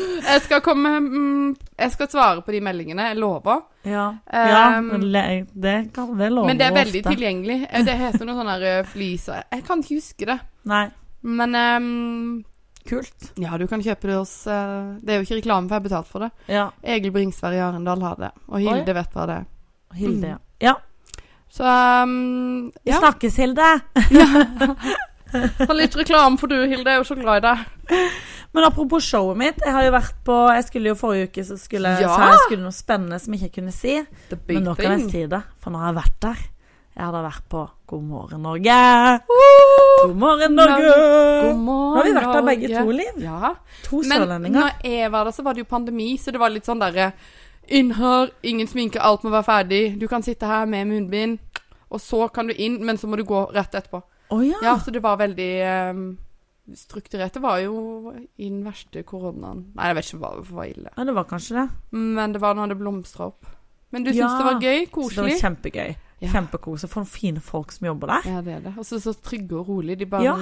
Speaker 2: jeg skal komme mm, Jeg skal svare på de meldingene, jeg lover.
Speaker 1: Ja,
Speaker 2: Eh,
Speaker 1: ja men le- det kan det love
Speaker 2: Men det er veldig
Speaker 1: ofte.
Speaker 2: tilgjengelig. Eh, Det heter noe sånn her eh, flis Jeg kan ikke huske det.
Speaker 1: Nei,
Speaker 2: Men ehm,
Speaker 1: kult.
Speaker 2: Ja, du kan kjøpe det hos eh, Det er jo ikke reklame, for jeg har betalt for det.
Speaker 1: Ja,
Speaker 2: Egil Bringsvær i Arendal har det. Og Hilde vet hva det er.
Speaker 1: Hilde, ja.
Speaker 2: Mm.
Speaker 1: Ja,
Speaker 2: Så ehm,
Speaker 1: vi
Speaker 2: ja.
Speaker 1: snakkes, Hilde!
Speaker 2: Ta litt reklame for du, Hilde. Jeg er jo så glad i deg.
Speaker 1: Men apropos showet mitt, jeg har jo vært på Jeg skulle jo forrige uke, så skulle
Speaker 2: Ja!
Speaker 1: sa jeg skulle noe spennende som jeg ikke kunne si.
Speaker 2: The
Speaker 1: Men nå kan jeg si det, for nå har jeg vært der. Jeg hadde vært på God morgen, Norge! God morgen, Norge!
Speaker 2: God morgen,
Speaker 1: Nå har vi vært der begge
Speaker 2: Norge.
Speaker 1: to, Liv.
Speaker 2: Ja.
Speaker 1: To
Speaker 2: Men
Speaker 1: sørlendinger.
Speaker 2: når jeg var der, så var det jo pandemi, så det var litt sånn derre Innhør, ingen sminke, alt må være ferdig. Du kan sitte her med munnbind, og så kan du inn, men så må du gå rett etterpå.
Speaker 1: Å ja.
Speaker 2: Ja, så det var veldig ehm, strukturert. Det var jo i den verste koronaen Nei, jeg vet ikke hva det var ille.
Speaker 1: ja! Det var kanskje det.
Speaker 2: Men det var når det blomstra opp. Men du
Speaker 1: Ja,
Speaker 2: syns det var
Speaker 1: Så
Speaker 2: gøy?
Speaker 1: det
Speaker 2: Koselig?
Speaker 1: var kjempegøy.
Speaker 2: Ja.
Speaker 1: Kjempekose. For noen fine folk som jobber der.
Speaker 2: Ja, det er det. Og så så trygge og rolig. De bare
Speaker 1: Ja.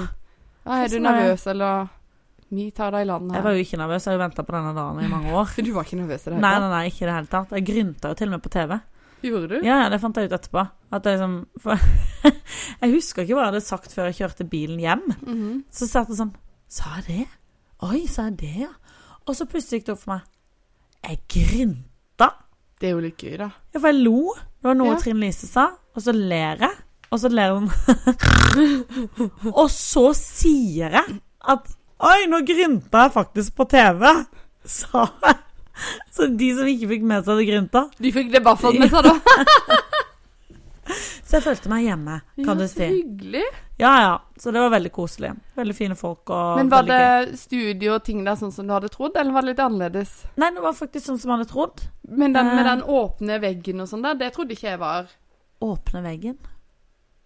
Speaker 2: «Ah, Er du
Speaker 1: Sånn er det.
Speaker 2: nervøs, eller Vi tar deg i land
Speaker 1: Jeg
Speaker 2: her.
Speaker 1: var jo ikke nervøs, jeg har jo venta på denne dagen i mange år.
Speaker 2: Du var ikke nervøs i det
Speaker 1: Nei,
Speaker 2: hele
Speaker 1: nei, nei, ikke i det hele tatt. Jeg grynta jo til og med på TV.
Speaker 2: tatt? Gjorde du?
Speaker 1: Ja, ja, det fant jeg ut etterpå. At jeg liksom for, Jeg husker ikke hva jeg hadde sagt før jeg kjørte bilen hjem.
Speaker 2: Mhm.
Speaker 1: Så satt jeg sånn Sa jeg det? Oi, sa jeg det, ja? Og så plutselig gikk det opp for meg. Jeg grynta.
Speaker 2: Det er jo litt gøy, da.
Speaker 1: Ja, for jeg lo. Det var noe
Speaker 2: Ja.
Speaker 1: Trine Lise sa, og så ler jeg. Og så ler hun. og så sier jeg at Oi, nå grynta jeg faktisk på TV! Sa jeg. Så de som ikke fikk med seg det grynta.
Speaker 2: Du fikk det bare for meg, sa du.
Speaker 1: Så jeg følte meg hjemme, kan du
Speaker 2: Ja, så
Speaker 1: si.
Speaker 2: hyggelig.
Speaker 1: Ja, ja. Så det var veldig koselig. Veldig fine folk og
Speaker 2: Men var
Speaker 1: veldig gøy.
Speaker 2: det studio og ting der sånn som du hadde trodd, eller var det litt annerledes?
Speaker 1: Nei, det var faktisk sånn som jeg hadde trodd.
Speaker 2: Men den, med
Speaker 1: Eh.
Speaker 2: den åpne veggen og sånn der, det trodde ikke jeg var
Speaker 1: Åpne veggen.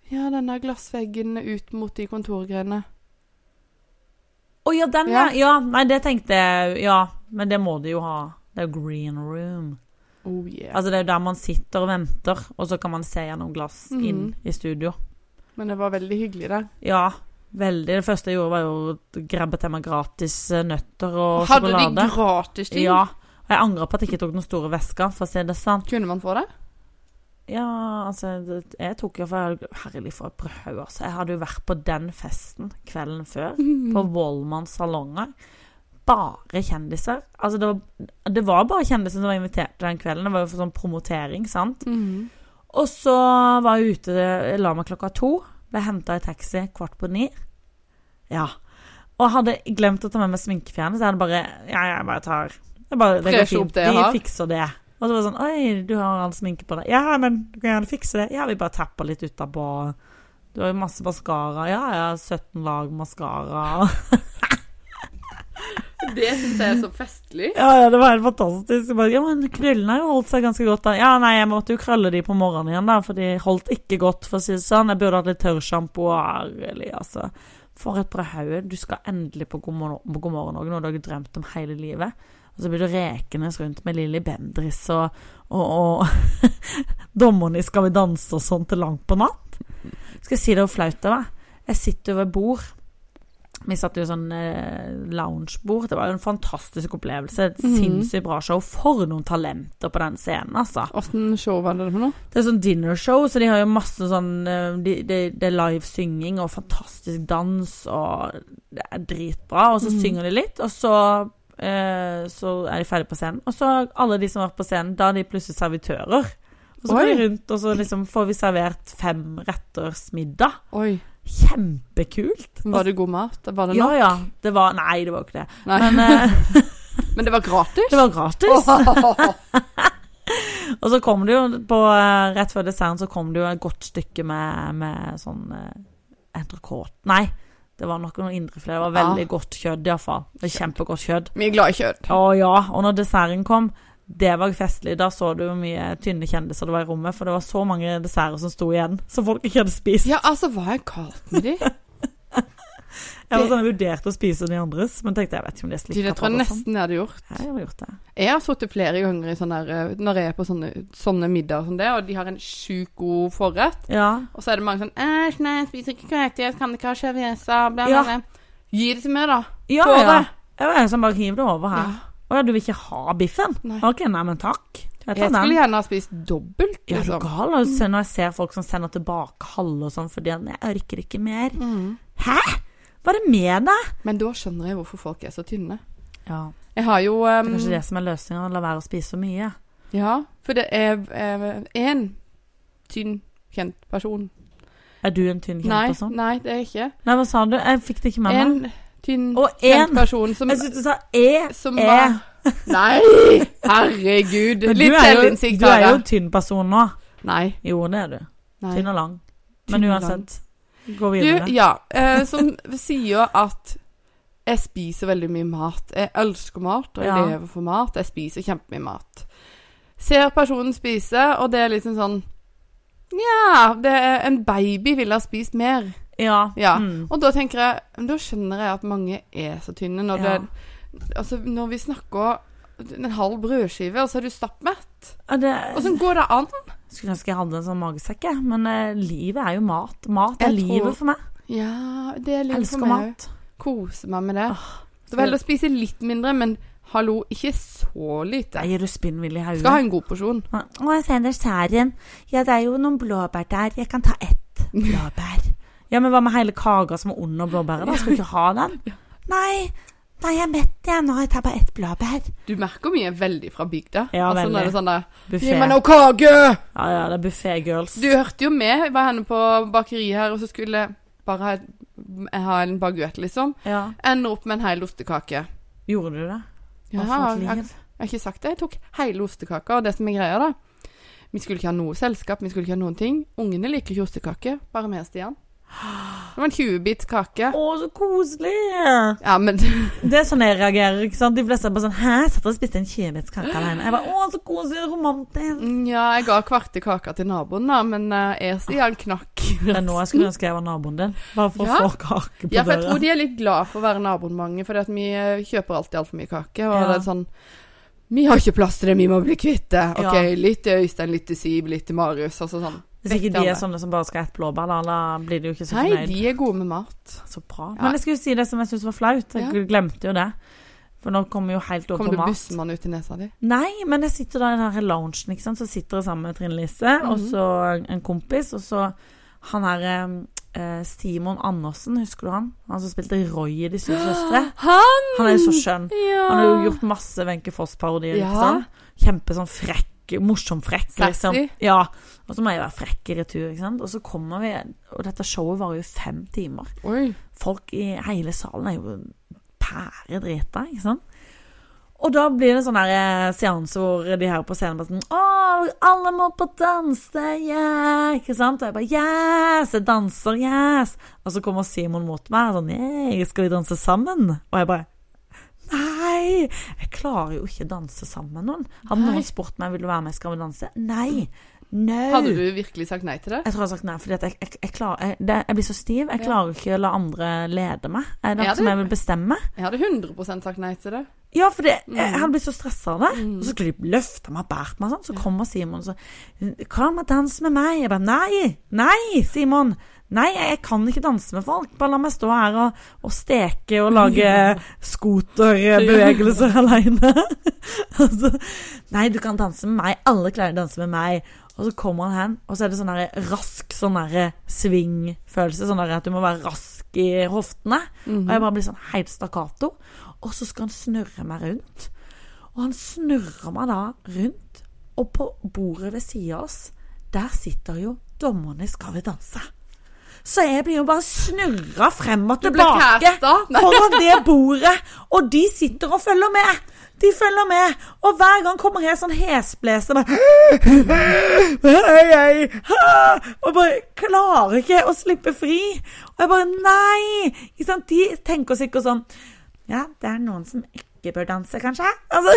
Speaker 2: Ja, den der glassveggen ut mot de kontorgreiene.
Speaker 1: Å ja, den, ja.
Speaker 2: Ja.
Speaker 1: ja. Nei, det tenkte jeg Ja, men det må de jo ha. Det er jo green room.
Speaker 2: Oh yeah.
Speaker 1: Altså, det er jo der man sitter og venter, og så kan man se gjennom glass
Speaker 2: Mhm.
Speaker 1: inn i studio.
Speaker 2: Men det var veldig hyggelig der.
Speaker 1: Ja, veldig. Det første jeg gjorde, var jo å grabbe til meg gratis eh, nøtter og
Speaker 2: Hadde de
Speaker 1: sjokolade.
Speaker 2: gratis ting?
Speaker 1: Ja. Og jeg angrer på at jeg ikke tok den store veska, for å si det sånn. sant.
Speaker 2: Kunne man få det?
Speaker 1: Ja, altså, det- jeg tok jo for Herlig, for et brødhaug, altså. Jeg hadde jo vært på den festen kvelden før, på Wollmanns salonger. Bare kjendiser. Altså, det var, det var bare kjendiser som var invitert den kvelden. Det var jo for sånn promotering, sant.
Speaker 2: Mhm.
Speaker 1: Og så var jeg ute, jeg la meg klokka to. Ble henta i taxi kvart på ni. Ja. Og jeg hadde glemt å ta med meg sminkefjerner, så jeg hadde bare Ja, jeg bare tar jeg bare, Det
Speaker 2: Fresher
Speaker 1: går
Speaker 2: opp
Speaker 1: fint.
Speaker 2: det jeg
Speaker 1: De
Speaker 2: har.
Speaker 1: fikser det. Og så var det sånn Oi, du har all sminke på deg. Ja, men du kan gjerne fikse det. Ja, vi bare tapper litt utapå. Du har jo masse maskara. Ja, jeg har 17 lag maskara.
Speaker 2: Det syns jeg er så festlig.
Speaker 1: Ja, ja, det var helt fantastisk. Jeg Bare, ja, men krøllene har jo holdt seg ganske godt. Da. Ja, nei, jeg måtte jo krølle de på morgenen igjen, da, for de holdt ikke godt, for å si det sånn. Jeg burde hatt litt tørrsjampo og ærlig, altså. For et bra hode. Du skal endelig på God morgen, på god morgen Norge, noe du har drømt om hele livet. Og så blir du rekende rundt med Lilly Bendriss og, og, og dommerne i Skal vi danse og sånn til langt på natt. Skal jeg si det var flaut det var? Jeg sitter jo ved bord vi satt jo sånn eh, loungebord. Det var jo en fantastisk opplevelse. Et
Speaker 2: Mhm.
Speaker 1: Sinnssykt bra show. For noen talenter på den scenen, altså.
Speaker 2: Åssen show var det for noe?
Speaker 1: Det er sånn dinnershow, så de har jo masse sånn eh, de- de- Det er live synging og fantastisk dans, og det er dritbra. Og så
Speaker 2: Mhm.
Speaker 1: synger de litt, og så eh, så er de ferdige på scenen. Og så alle de som har vært på scenen, da er de plutselig servitører. Og så går
Speaker 2: Oi.
Speaker 1: de rundt, og så liksom får vi servert fem retters middag.
Speaker 2: Oi.
Speaker 1: Kjempekult.
Speaker 2: Var det god mat? Var det
Speaker 1: Ja,
Speaker 2: nok?
Speaker 1: ja. Det var Nei, det var jo ikke det.
Speaker 2: Nei.
Speaker 1: Men
Speaker 2: Men,
Speaker 1: eh,
Speaker 2: det var gratis?
Speaker 1: det var gratis. Og så kom det jo på, eh, rett før desserten så kom det jo et godt stykke med, med sånn eh, entrecôte Nei, det var nok noe indrefilet. Det var veldig godt kjøtt iallfall. Kjempegodt kjøtt.
Speaker 2: Vi er glad i Ah. kjøtt.
Speaker 1: Å ja. Og når desserten kom, det var festlig. Da så du hvor mye tynne kjendiser det var i rommet, for det var så mange desserter som sto igjen, som folk ikke hadde spist.
Speaker 2: Ja, altså, hva er galt med de?
Speaker 1: Jeg var sånn, jeg vurderte å spise de andres, men tenkte jeg vet ikke om de er
Speaker 2: De
Speaker 1: slikka
Speaker 2: det tror
Speaker 1: på
Speaker 2: jeg
Speaker 1: det. og sånn.
Speaker 2: nesten jeg hadde gjort.
Speaker 1: Ja, Jeg har gjort det.
Speaker 2: Jeg har sittet flere ganger i sånne der, eh, når jeg er på sånne, sånne middager som det, og de har en sjukt god forrett.
Speaker 1: Ja.
Speaker 2: Og så er det mange sånn Æsj, nei, jeg spiser ikke kveite, jeg kan ikke ha cheviesa, bla, bla,
Speaker 1: Ja.
Speaker 2: bla. Gi det til meg, da.
Speaker 1: Ja,
Speaker 2: Tåre.
Speaker 1: ja. Jeg var en som bare hiv det over her.
Speaker 2: Ja.
Speaker 1: Å ja, du vil ikke ha biffen?
Speaker 2: Nei.
Speaker 1: Ok, nei, men takk. Jeg
Speaker 2: Jeg
Speaker 1: tar
Speaker 2: skulle
Speaker 1: den.
Speaker 2: gjerne ha spist dobbelt,
Speaker 1: Ja, er du
Speaker 2: liksom.
Speaker 1: gal? Og så når jeg ser folk som sender tilbake halve og sånn fordi at, Nei, jeg orker ikke mer.
Speaker 2: Mm.
Speaker 1: Hæ? Hva er det med deg?
Speaker 2: Men da skjønner jeg hvorfor folk er så tynne.
Speaker 1: Ja,
Speaker 2: Jeg har jo
Speaker 1: Det
Speaker 2: um,
Speaker 1: er kanskje det som er løsninga, la være å spise så mye.
Speaker 2: Ja, for det er én tynn, kjent person.
Speaker 1: Er du en tynn
Speaker 2: Nei,
Speaker 1: kjent og sånn?
Speaker 2: nei, det er ikke.
Speaker 1: Nei, hva sa du? Jeg fikk det ikke med meg.
Speaker 2: En tynn,
Speaker 1: Og
Speaker 2: kjent
Speaker 1: én!
Speaker 2: person som
Speaker 1: Jeg syns du sa E.
Speaker 2: som
Speaker 1: E.
Speaker 2: var Nei! Herregud.
Speaker 1: Men
Speaker 2: Litt
Speaker 1: du er jo-
Speaker 2: selvinnsikt
Speaker 1: Du er
Speaker 2: har
Speaker 1: jo
Speaker 2: jeg.
Speaker 1: en tynn person nå.
Speaker 2: Nei.
Speaker 1: Jo, det er du.
Speaker 2: nei.
Speaker 1: Tynn og lang.
Speaker 2: Tynn
Speaker 1: Men
Speaker 2: og
Speaker 1: uansett, gå
Speaker 2: Du,
Speaker 1: videre.
Speaker 2: ja. Eh, som sier at jeg spiser veldig mye mat. Jeg elsker mat, og jeg
Speaker 1: Ja.
Speaker 2: lever for mat. Jeg spiser kjempemye mat. Ser personen spise, og det er liksom sånn Nja, det er- en baby ville ha spist mer.
Speaker 1: Ja.
Speaker 2: Ja.
Speaker 1: Mm.
Speaker 2: Og da tenker jeg men Da skjønner jeg at mange er så tynne når
Speaker 1: Ja.
Speaker 2: det Altså, når vi snakker en halv brødskive, og så er du stappmett.
Speaker 1: Ja, det-
Speaker 2: Åssen går det an?
Speaker 1: Skulle ønske jeg hadde en sånn magesekk, jeg. Men eh, livet er jo mat. Mat er
Speaker 2: Jeg tror-
Speaker 1: livet for meg.
Speaker 2: Ja, det er
Speaker 1: Jeg
Speaker 2: litt for
Speaker 1: elsker
Speaker 2: meg òg.
Speaker 1: mat. Ah,
Speaker 2: Kose meg med det. Så
Speaker 1: skal-
Speaker 2: vel å spise litt mindre, men hallo, ikke så lite.
Speaker 1: Der gir du spinnvill i
Speaker 2: Skal ha
Speaker 1: hodet.
Speaker 2: en god porsjon.
Speaker 1: Å, jeg ser desserten. Ja, det er jo noen blåbær der. Jeg kan ta ett blåbær. ja, men hva med hele kaka som er under blåbæret, da? Skal du ikke ha den? Nei. Nei, jeg er mett, jeg. Nå har jeg tatt bare ett blåbær.
Speaker 2: Du merker hvor mye er veldig fra bygda.
Speaker 1: Ja,
Speaker 2: altså,
Speaker 1: veldig.
Speaker 2: Når det er sånn der, Gi
Speaker 1: Buffé.
Speaker 2: meg noe kake!
Speaker 1: Ja, ja, det er buffé girls.
Speaker 2: Du hørte jo med. Jeg var henne på bakeriet her, og så skulle jeg bare ha, ha en baguett, liksom.
Speaker 1: Ja.
Speaker 2: Ender opp med en hel ostekake.
Speaker 1: Gjorde du det?
Speaker 2: Ja,
Speaker 1: Hva for et
Speaker 2: jeg, jeg,
Speaker 1: liv.
Speaker 2: har ikke sagt det. Jeg tok hele ostekaka, og det som er greia, da Vi skulle ikke ha noe selskap, vi skulle ikke ha noen ting. Ungene liker ikke ostekake, bare med Stian. Det var en 20-bit
Speaker 1: Å,
Speaker 2: kake.
Speaker 1: så koselig!
Speaker 2: Ja, men
Speaker 1: Det er sånn jeg reagerer. ikke sant? De fleste er bare sånn Hæ, satt og spiste en 20-bitskake alene? Jeg bare Å, så koselig og romantisk.
Speaker 2: Ja, jeg ga kvarte kaka til naboen, da, men uh, Esi han knakk.
Speaker 1: Det er nå jeg skulle ønske jeg var naboen din. Bare for
Speaker 2: Ja.
Speaker 1: å få kake på
Speaker 2: Ja, for jeg
Speaker 1: døra.
Speaker 2: tror de er litt glad for å være naboen mange, for vi eh, kjøper alltid altfor mye kake. Og
Speaker 1: Ja.
Speaker 2: det er sånn Vi har ikke plass til det, vi må bli kvitt det.
Speaker 1: Ja.
Speaker 2: OK, litt til Øystein, litt til Siv, litt til Marius, altså sånn.
Speaker 1: Hvis ikke
Speaker 2: Vekk
Speaker 1: de
Speaker 2: alle.
Speaker 1: er sånne som bare skal ha ett blåbær, da, da blir de jo ikke så
Speaker 2: Nei,
Speaker 1: fornøyd.
Speaker 2: de er gode med mat.
Speaker 1: Så bra.
Speaker 2: Ja.
Speaker 1: Men jeg skulle si det som jeg syntes var flaut. Jeg
Speaker 2: Ja.
Speaker 1: glemte jo det. For nå kommer vi jo helt over
Speaker 2: Kommer
Speaker 1: på
Speaker 2: du
Speaker 1: mat.
Speaker 2: bussmann ut i nesa di?
Speaker 1: Nei, men jeg sitter da i den her loungen, ikke sant? så sitter jeg sammen med Trine Lise, og
Speaker 2: Mhm.
Speaker 1: så en kompis, og så han her eh, eh, Simon Andersen, husker du han? Han som spilte Roy i De syv søstre.
Speaker 2: Han!
Speaker 1: Han er jo så skjønn.
Speaker 2: Ja.
Speaker 1: Han har jo gjort masse Wenche Foss-parodier,
Speaker 2: Ja.
Speaker 1: ikke sant? Kjempe sånn frekk frekk, morsom frekk.
Speaker 2: Sassy.
Speaker 1: Liksom. Ja. Og så må jeg være frekk i retur. ikke sant? Og så kommer vi, og dette showet varer jo fem timer.
Speaker 2: Oi.
Speaker 1: Folk i hele salen er jo pæredrita, ikke sant? Og da blir det en sånn her eh, seanse hvor de her på scenen bare sånn Å, alle må på danse, yeah! Ikke sant? Og jeg bare Yes! Jeg danser, yes! Og så kommer Simon mot meg sånn Yeah, skal vi danse sammen? Og jeg bare Nei! Jeg klarer jo ikke å danse sammen med noen. Hadde
Speaker 2: Nei.
Speaker 1: noen spurt meg vil du være med, skal vi danse? Nei! No!
Speaker 2: Hadde du virkelig sagt nei til det?
Speaker 1: Jeg tror jeg har sagt nei, fordi at jeg, jeg, jeg, klarer, jeg, det, jeg blir så stiv. Jeg
Speaker 2: Ja.
Speaker 1: klarer ikke å la andre lede meg. Er det
Speaker 2: Ja,
Speaker 1: noe som
Speaker 2: det-
Speaker 1: jeg vil bestemme?
Speaker 2: Jeg hadde 100 sagt nei til det.
Speaker 1: Ja, for det,
Speaker 2: Mm.
Speaker 1: jeg hadde blitt så stressa av det. Og så skulle de løfte meg og bært meg, sånn. så kommer Simon og så 'Kom og dans med meg.' Jeg bare 'Nei! Nei, Simon! Nei, jeg, jeg kan ikke danse med folk. Bare la meg stå her og, og steke og lage eh, skoterbevegelser aleine.' altså, Nei, du kan danse med meg. Alle klarer å danse med meg. Og så kommer han hen, og så er det sånn der rask sånn der svingfølelse. Sånn der at du må være rask i hoftene. Og jeg bare blir sånn helt stakkato. Og så skal han snurre meg rundt. Og han snurrer meg da rundt, og på bordet ved sida av oss, der sitter jo dommerne i Skal vi danse. Så jeg blir jo bare snurra frem og
Speaker 2: Du ble
Speaker 1: tilbake
Speaker 2: casta. Nei.
Speaker 1: foran det bordet, og de sitter og følger med. De følger med, og hver gang kommer jeg sånn hesblesende Og bare klarer ikke å slippe fri. Og jeg bare Nei! Ikke sant? De tenker sikkert sånn Ja, det er noen som ikke bør danse, kanskje? Altså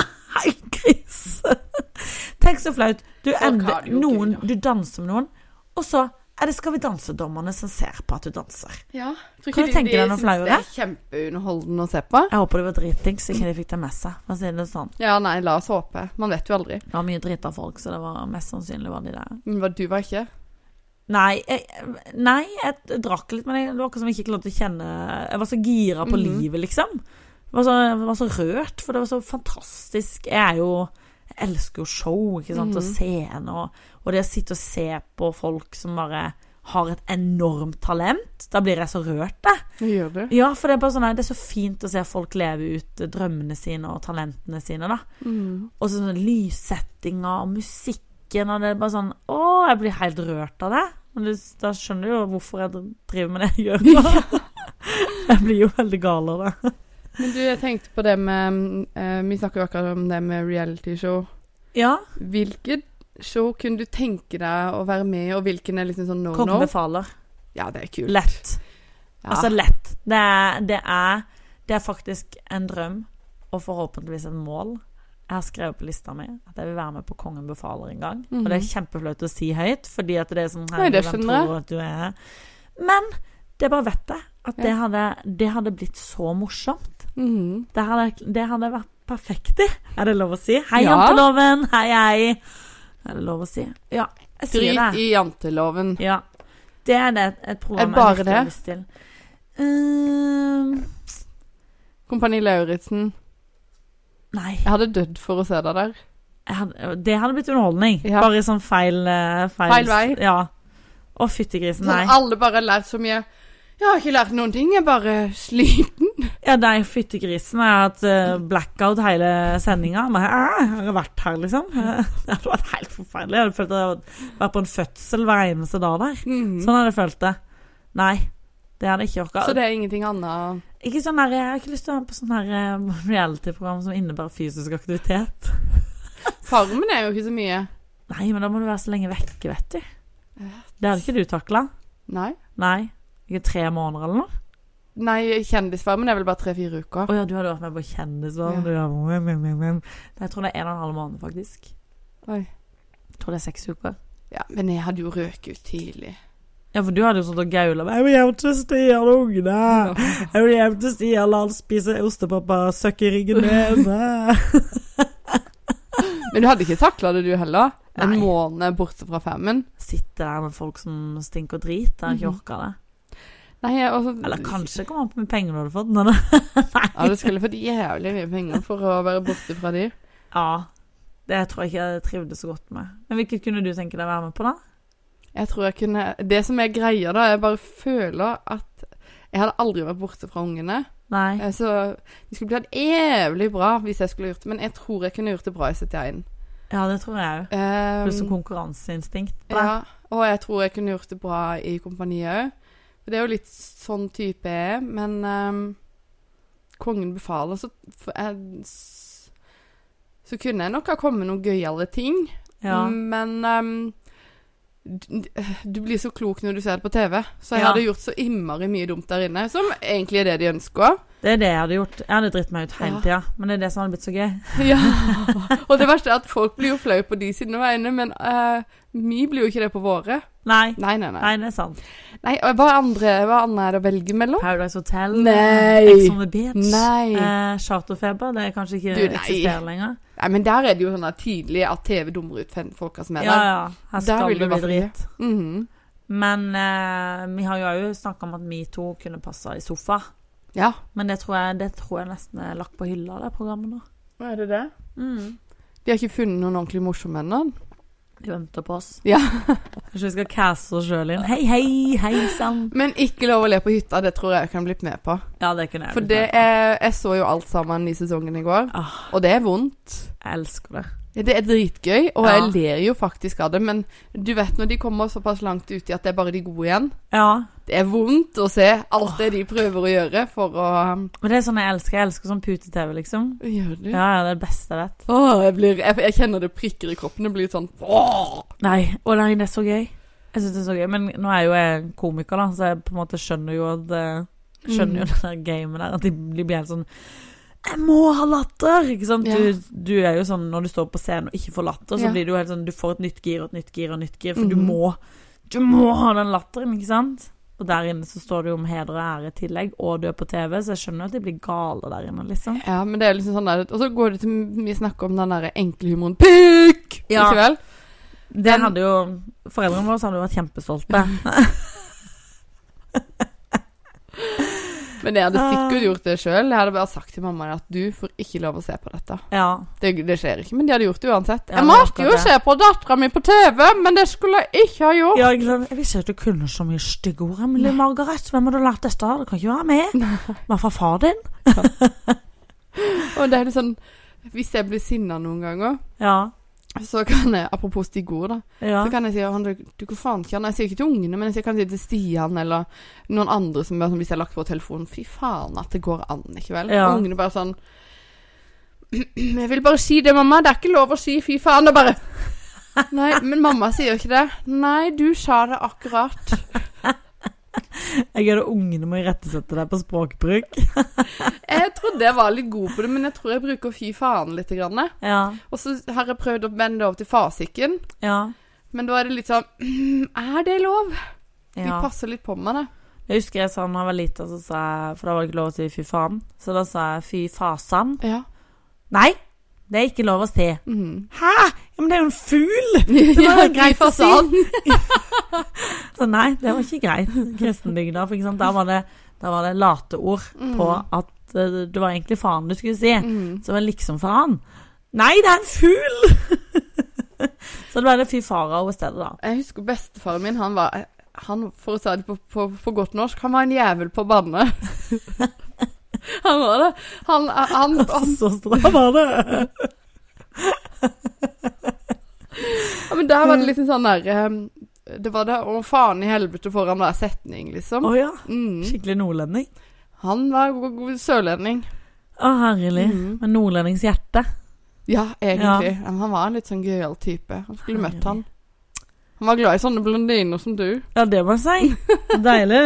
Speaker 1: Hei, krise! Tenk så flaut. Du,
Speaker 2: har
Speaker 1: ender,
Speaker 2: det jo
Speaker 1: noen,
Speaker 2: gøy,
Speaker 1: du danser med noen, og så er det Skal vi danse-dommerne som ser på at du danser.
Speaker 2: Ja. Tror
Speaker 1: Kan
Speaker 2: ikke
Speaker 1: du tenke
Speaker 2: de- de
Speaker 1: deg noe
Speaker 2: syns
Speaker 1: flauere?
Speaker 2: Det er kjempeunderholdende å se på.
Speaker 1: Jeg håper det var dritings, så ikke de fikk det med seg. For å si det sånn.
Speaker 2: Ja, nei, la oss håpe. Man vet jo aldri.
Speaker 1: Det var mye drita folk, så det var mest sannsynlig var de der.
Speaker 2: Men hva- du var ikke
Speaker 1: Nei, jeg, nei, jeg drakk litt, men jeg, det var akkurat som jeg ikke klarte å kjenne Jeg var så gira på
Speaker 2: Mhm.
Speaker 1: livet, liksom. Jeg var, så, jeg var så rørt, for det var så fantastisk. Jeg er jo Jeg elsker jo show ikke sant? og
Speaker 2: Mhm.
Speaker 1: scene, og, og det å sitte og se på folk som bare har et enormt talent. Da blir jeg så rørt, jeg.
Speaker 2: Hva gjør du?
Speaker 1: Ja, for det er bare sånn, nei, det er så fint å se folk leve ut eh, drømmene sine og talentene sine, da.
Speaker 2: Mm.
Speaker 1: Og så sånn lyssettinga og musikken og det er bare sånn Å, jeg blir helt rørt av det. Men du, da skjønner du jo hvorfor jeg driver med det jeg gjør. nå. jeg blir jo veldig gal av det.
Speaker 2: Men du, jeg tenkte på det med eh, Vi snakker jo akkurat om det med realityshow.
Speaker 1: Ja.
Speaker 2: Hvilket show kunne du tenke deg å være med i, og hvilken er liksom sånn no
Speaker 1: Kongen
Speaker 2: no?
Speaker 1: befaler.
Speaker 2: Ja, det er kult.
Speaker 1: Lett.
Speaker 2: Ja.
Speaker 1: Altså lett. Det er, det er Det er faktisk en drøm, og forhåpentligvis et mål. Jeg har skrevet på lista mi at jeg vil være med på Kongen befaler en gang. Og det er kjempeflaut å si høyt, fordi at det er sånn
Speaker 2: Mhm. Nei, det
Speaker 1: «Herregud, hvem
Speaker 2: skjønner jeg.
Speaker 1: tror at du er Men det bare vet jeg. At det, hadde, det hadde blitt så morsomt.
Speaker 2: Mhm.
Speaker 1: Det hadde, det hadde vært perfekt i. Er det lov å si? Hei,
Speaker 2: Ja.
Speaker 1: janteloven! Hei, hei! Er det lov å si? Ja, jeg sier det.
Speaker 2: Drit i janteloven.
Speaker 1: Ja. Det er det et
Speaker 2: Er
Speaker 1: program
Speaker 2: det bare
Speaker 1: jeg virkelig
Speaker 2: det?
Speaker 1: har lyst til. Ehm,
Speaker 2: Kompani Lauritzen.
Speaker 1: nei.
Speaker 2: Jeg hadde dødd for å se deg der.
Speaker 1: Jeg hadde, det hadde blitt underholdning.
Speaker 2: Ja.
Speaker 1: Bare i sånn feil eh, Feil,
Speaker 2: Feil vei.
Speaker 1: Ja. Å, fytti grisen. Nei.
Speaker 2: Sånn, alle bare har lært så mye. Jeg har ikke lært noen ting, jeg er bare sliten.
Speaker 1: Ja, nei, fytti grisen. Jeg har hatt eh, blackout hele sendinga. Men eh, jeg har vært her, liksom. Det hadde vært helt forferdelig. Jeg hadde følt at jeg hadde vært på en fødsel hver eneste dag der.
Speaker 2: Mhm.
Speaker 1: Sånn hadde jeg følt det. Nei. Det hadde jeg ikke orka.
Speaker 2: Så det er ingenting annet
Speaker 1: Ikke sånn her, jeg har ikke lyst til å være på sånn her eh, reality-program som innebærer fysisk aktivitet.
Speaker 2: Farmen er jo ikke så mye. Eh,
Speaker 1: Nei, men da må du være så lenge vekke, vet du. Det hadde ikke du takla.
Speaker 2: Nei.
Speaker 1: Nei. Ikke tre måneder eller noe?
Speaker 2: Nei, Kjendisfarmen er vel bare
Speaker 1: Å
Speaker 2: tre-fire uker.
Speaker 1: ja, du hadde vært med på Kjendisvarm.
Speaker 2: Ja.
Speaker 1: du hadde- mm, mm, mm, mm. Nei, Jeg tror det er en og en halv måned, faktisk.
Speaker 2: Oi.
Speaker 1: Jeg tror det er seks uker.
Speaker 2: Ja, Men jeg hadde jo røket ut tidlig.
Speaker 1: Ja, for du hadde jo sånt og gaula med 'Jeg vil hjem til Stian og ungene'. 'Jeg vil hjem til Stian, la han spise ostepopper, søkke i ryggen min'.
Speaker 2: Men du hadde ikke takla det, du heller? En
Speaker 1: Nei.
Speaker 2: måned borte fra Farmen?
Speaker 1: Sitte der med folk som stinker drit. Jeg har ikke orka det.
Speaker 2: Mhm. Nei, jeg, også,
Speaker 1: Eller kanskje kom han på med penger du hadde fått. Men
Speaker 2: Ja, du skulle fått jævlig mye penger for å være borte fra de.
Speaker 1: Ja. Det tror jeg ikke jeg trivdes så godt med. Men Hvilket kunne du tenke deg å være med på, da?
Speaker 2: Jeg tror jeg kunne Det som er greia, da, jeg bare føler at jeg hadde aldri vært borte fra ungene.
Speaker 1: Nei.
Speaker 2: Eh, Så det skulle blitt jævlig bra hvis jeg skulle gjort det. Men jeg tror jeg kunne gjort det bra i 71.
Speaker 1: Ja, det tror jeg òg.
Speaker 2: Um,
Speaker 1: Pluss konkurranseinstinkt.
Speaker 2: ja, og jeg tror jeg kunne gjort det bra i kompaniet òg. For det er jo litt sånn type jeg er, men um, Kongen befaler, så, for jeg, s- så kunne jeg nok ha kommet noen gøyale ting.
Speaker 1: Ja.
Speaker 2: Men um, d- d- du blir så klok når du ser det på TV, så jeg
Speaker 1: Ja.
Speaker 2: hadde gjort så innmari mye dumt der inne, som egentlig er det de ønsker.
Speaker 1: Det er det jeg hadde gjort. Jeg hadde dritt meg ut hele
Speaker 2: Ja.
Speaker 1: tida, men det er det som hadde blitt så gøy.
Speaker 2: Ja. Og det verste er at folk blir jo flau på de sine vegne, men eh, vi blir jo ikke det på våre.
Speaker 1: Nei.
Speaker 2: Nei, nei, nei.
Speaker 1: Nei, det er sant.
Speaker 2: nei og hva, andre, hva annet er det å velge mellom?
Speaker 1: Paradise Hotel, eh,
Speaker 2: Nei.
Speaker 1: Ex on the Beach,
Speaker 2: Nei.
Speaker 1: eh, Charterfeber Det er kanskje ikke
Speaker 2: Du, nei.
Speaker 1: eksisterer lenger.
Speaker 2: Nei, men der er det jo sånn at tydelig at TV dummer ut fan- folka som er
Speaker 1: Ja,
Speaker 2: der.
Speaker 1: ja. Her
Speaker 2: Der
Speaker 1: skal
Speaker 2: vil
Speaker 1: det
Speaker 2: du
Speaker 1: bli
Speaker 2: være
Speaker 1: dritt.
Speaker 2: Mhm.
Speaker 1: Men eh, vi har jo òg snakka om at vi to kunne passa i sofa.
Speaker 2: Ja.
Speaker 1: Men det tror jeg, det tror jeg nesten er lagt på hylla, det programmet nå.
Speaker 2: Er det det? De har ikke funnet noen ordentlig morsomme ennå.
Speaker 1: De venter på oss.
Speaker 2: Ja.
Speaker 1: Kanskje vi skal caste oss sjøl inn. Hei, hei, hei sann.
Speaker 2: Men ikke lov å le på hytta, det tror jeg jeg kan blitt med på.
Speaker 1: Ja, det kunne jeg.
Speaker 2: For
Speaker 1: blitt
Speaker 2: det
Speaker 1: med på.
Speaker 2: er, jeg så jo alt sammen i sesongen i går,
Speaker 1: Ah,
Speaker 2: og det er vondt.
Speaker 1: jeg elsker det.
Speaker 2: Det er dritgøy, og jeg
Speaker 1: Ja.
Speaker 2: ler jo faktisk av det, men du vet når de kommer såpass langt ut i at det er bare de gode igjen.
Speaker 1: Ja.
Speaker 2: Det er vondt å se alt det de prøver å gjøre for å um,
Speaker 1: Men det er sånn jeg elsker. Jeg elsker sånn pute-TV, liksom.
Speaker 2: Gjør du?
Speaker 1: Ja, ja, det er det beste jeg vet.
Speaker 2: Åh, jeg, blir, jeg, jeg kjenner det prikker i kroppen. Det blir litt sånn åh.
Speaker 1: Nei, å nei, det er så gøy. Jeg syns det er så gøy. Men nå er jo jeg komiker, da, så jeg på en måte skjønner jo at eh, Skjønner jo det der gamet der, at de, de blir helt sånn Jeg må ha latter! Ikke sant?
Speaker 2: Ja.
Speaker 1: Du, du er jo sånn når du står på scenen og ikke får latter, så
Speaker 2: Ja.
Speaker 1: blir du jo helt sånn Du får et nytt gir og et nytt gir og et nytt gir, for
Speaker 2: Mhm.
Speaker 1: du må Du må ha den latteren, ikke sant? Og der inne så står det jo om heder og ære i tillegg, og du er på TV, så jeg skjønner at de blir gale der inne, liksom.
Speaker 2: Ja, men det er jo liksom sånn der Og så går det til vi snakker om den derre enkle humoren Pikk!
Speaker 1: Ja.
Speaker 2: Ikke vel?
Speaker 1: Det hadde jo Foreldrene våre hadde jo vært kjempestolte.
Speaker 2: Men jeg hadde sikkert gjort det sjøl. Jeg hadde bare sagt til mamma at du får ikke lov å se på dette.
Speaker 1: Ja.
Speaker 2: Det, det skjer ikke, men de hadde gjort det uansett.
Speaker 1: Ja,
Speaker 2: jeg
Speaker 1: det er
Speaker 2: måtte jo
Speaker 1: akkurat
Speaker 2: se
Speaker 1: det.
Speaker 2: på dattera mi på TV, men det skulle jeg ikke ha gjort.
Speaker 1: ja ikke sant? Jeg visste ikke at du kunne så mye stygge ord, Emilie Margaret. Hvem har du lært dette av? Det kan ikke være meg. Hva fra far din?
Speaker 2: Og det er litt sånn Hvis jeg blir sinna noen ganger,
Speaker 1: Ja. så
Speaker 2: så kan jeg Apropos Stig Ord, da.
Speaker 1: ja.
Speaker 2: Så kan jeg si han, du, du går faen ikke an. Jeg sier ikke til ungene, men jeg sier, kan si til Stian eller noen andre som bare sånn, hvis jeg har lagt på telefonen Fy faen at det går an, ikke vel?
Speaker 1: Ja.
Speaker 2: Og ungene bare sånn Jeg vil bare si det, mamma. Det er ikke lov å si fy faen. Og bare Nei, men mamma sier jo ikke det. Nei, du sa det akkurat.
Speaker 1: Jeg gjør det ungene må irettesette deg på språkbruk.
Speaker 2: Jeg trodde jeg var litt god på det, men jeg tror jeg bruker fy faen litt. Grann.
Speaker 1: Ja.
Speaker 2: Og så har jeg prøvd å vende det over til farsikken,
Speaker 1: Ja.
Speaker 2: men da er det litt sånn «Mm, Er det lov? De
Speaker 1: ja.
Speaker 2: passer litt på meg, det.
Speaker 1: Jeg husker jeg sa da jeg var lita, så sa jeg For da var det ikke lov å si fy faen. Så da sa jeg fy fasan.
Speaker 2: Ja.
Speaker 1: Nei, det er ikke lov å si.
Speaker 2: Mm.
Speaker 1: Hæ? Ja, men det er jo en fugl!
Speaker 2: Det
Speaker 1: var jo greit å si.
Speaker 2: si.
Speaker 1: Så nei, det var ikke greit. Kristenbygda, for ikke sant, der var det, der var det late ord på at eh, det var egentlig faen du skulle si.
Speaker 2: Mm.
Speaker 1: Så det var liksom faen. Nei, det er en fugl! så det ble det fy farao i stedet, da.
Speaker 2: Jeg husker bestefaren min, han var han, For å si det på, på, på godt norsk, han var en jævel på banne. han var det. Han, han, han,
Speaker 1: Så stram var det.
Speaker 2: ja, men der var det liksom sånn der eh, Det var det Å, faen i helvete foran hver setning,
Speaker 1: Å
Speaker 2: liksom.
Speaker 1: ja.
Speaker 2: Mm.
Speaker 1: Skikkelig nordlending.
Speaker 2: Han var god, god sørlending.
Speaker 1: Å, herlig.
Speaker 2: Mhm.
Speaker 1: Med nordlendings hjerte.
Speaker 2: Ja, egentlig. Men Han var en litt sånn gøyal type. Han skulle møtt han. Han var glad i sånne blondiner som du.
Speaker 1: Ja, det må jeg si. Deilig.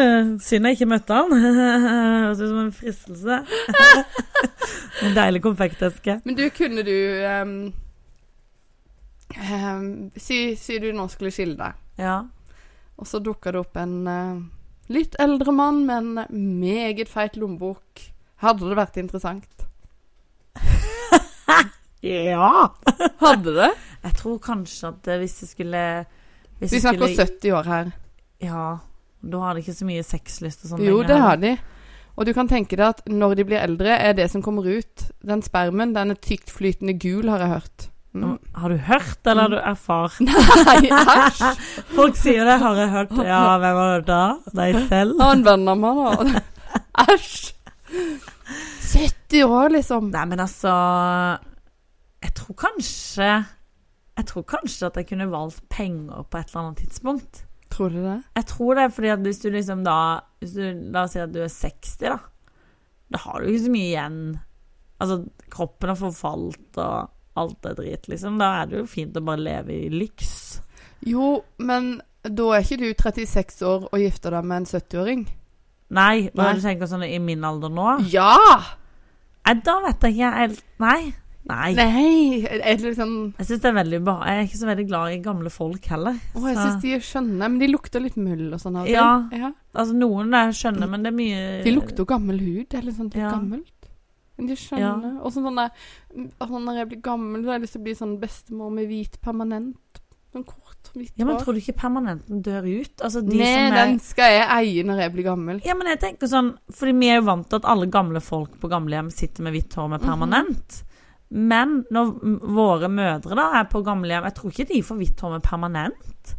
Speaker 1: Synd jeg ikke møtte han. Høres ut som en fristelse. en deilig konfekteske.
Speaker 2: Men du, kunne du ehm, ehm, si, si du nå skulle skille deg.
Speaker 1: Ja.
Speaker 2: Og så dukka det opp en eh, litt eldre mann med en eh, meget feit lommebok. Hadde det vært interessant?
Speaker 1: Ja!
Speaker 2: Hadde det?
Speaker 1: Jeg tror kanskje at eh, hvis jeg skulle hvis
Speaker 2: Vi
Speaker 1: jeg
Speaker 2: snakker
Speaker 1: skulle-
Speaker 2: 70 år her.
Speaker 1: Ja. Da har det ikke så mye sexlyst og sånn
Speaker 2: Jo,
Speaker 1: lenger.
Speaker 2: det har de. Og du kan tenke deg at når de blir eldre, er det som kommer ut Den spermen, den er tyktflytende gul, har jeg hørt. Mm.
Speaker 1: Har du hørt, eller har du erfart?
Speaker 2: Nei, æsj!
Speaker 1: Folk sier det, har jeg hørt. Ja, hvem har hørt det? Deg selv?
Speaker 2: Han venner meg, da. Æsj! 70 år, liksom.
Speaker 1: Nei, men altså Jeg tror kanskje Jeg tror kanskje at jeg kunne valgt penger på et eller annet tidspunkt.
Speaker 2: Tror du det?
Speaker 1: Jeg tror det er fordi at hvis du liksom da hvis du, La oss si at du er 60, da. Da har du ikke så mye igjen. Altså, kroppen har forfalt og alt er drit, liksom. Da er det jo fint å bare leve i lyks.
Speaker 2: Jo, men da er ikke du 36 år og gifter deg med en 70-åring.
Speaker 1: Nei,
Speaker 2: Nei.
Speaker 1: når du tenker sånn i min alder nå
Speaker 2: Ja!
Speaker 1: Nei, da vet jeg ikke helt Nei. Nei.
Speaker 2: Nei! Er det liksom
Speaker 1: Jeg synes det er veldig bra. Jeg er ikke så veldig glad i gamle folk heller.
Speaker 2: Å, jeg syns de er skjønne, men de lukter litt muld og sånn. av og til.
Speaker 1: Ja.
Speaker 2: ja.
Speaker 1: Altså, noen er skjønne, men det er mye
Speaker 2: De lukter jo gammel hud. Det er litt sånn litt
Speaker 1: Ja.
Speaker 2: gammelt. Men de
Speaker 1: Ja.
Speaker 2: skjønner. Og sånn sånn der «Å, Når jeg blir gammel, så har jeg lyst til å bli sånn bestemor med hvit permanent. Sånn kort, hvitt
Speaker 1: Ja, men
Speaker 2: hår.
Speaker 1: tror du ikke permanenten dør ut? Altså, de
Speaker 2: Nei,
Speaker 1: som er
Speaker 2: den skal jeg eie når jeg blir gammel.
Speaker 1: Ja, men jeg tenker sånn Fordi vi er jo vant til at alle gamle folk på gamlehjem sitter med hvitt hår med permanent. Men når m- våre mødre da er på gamlehjem Jeg tror ikke de får hvitt hår med permanent.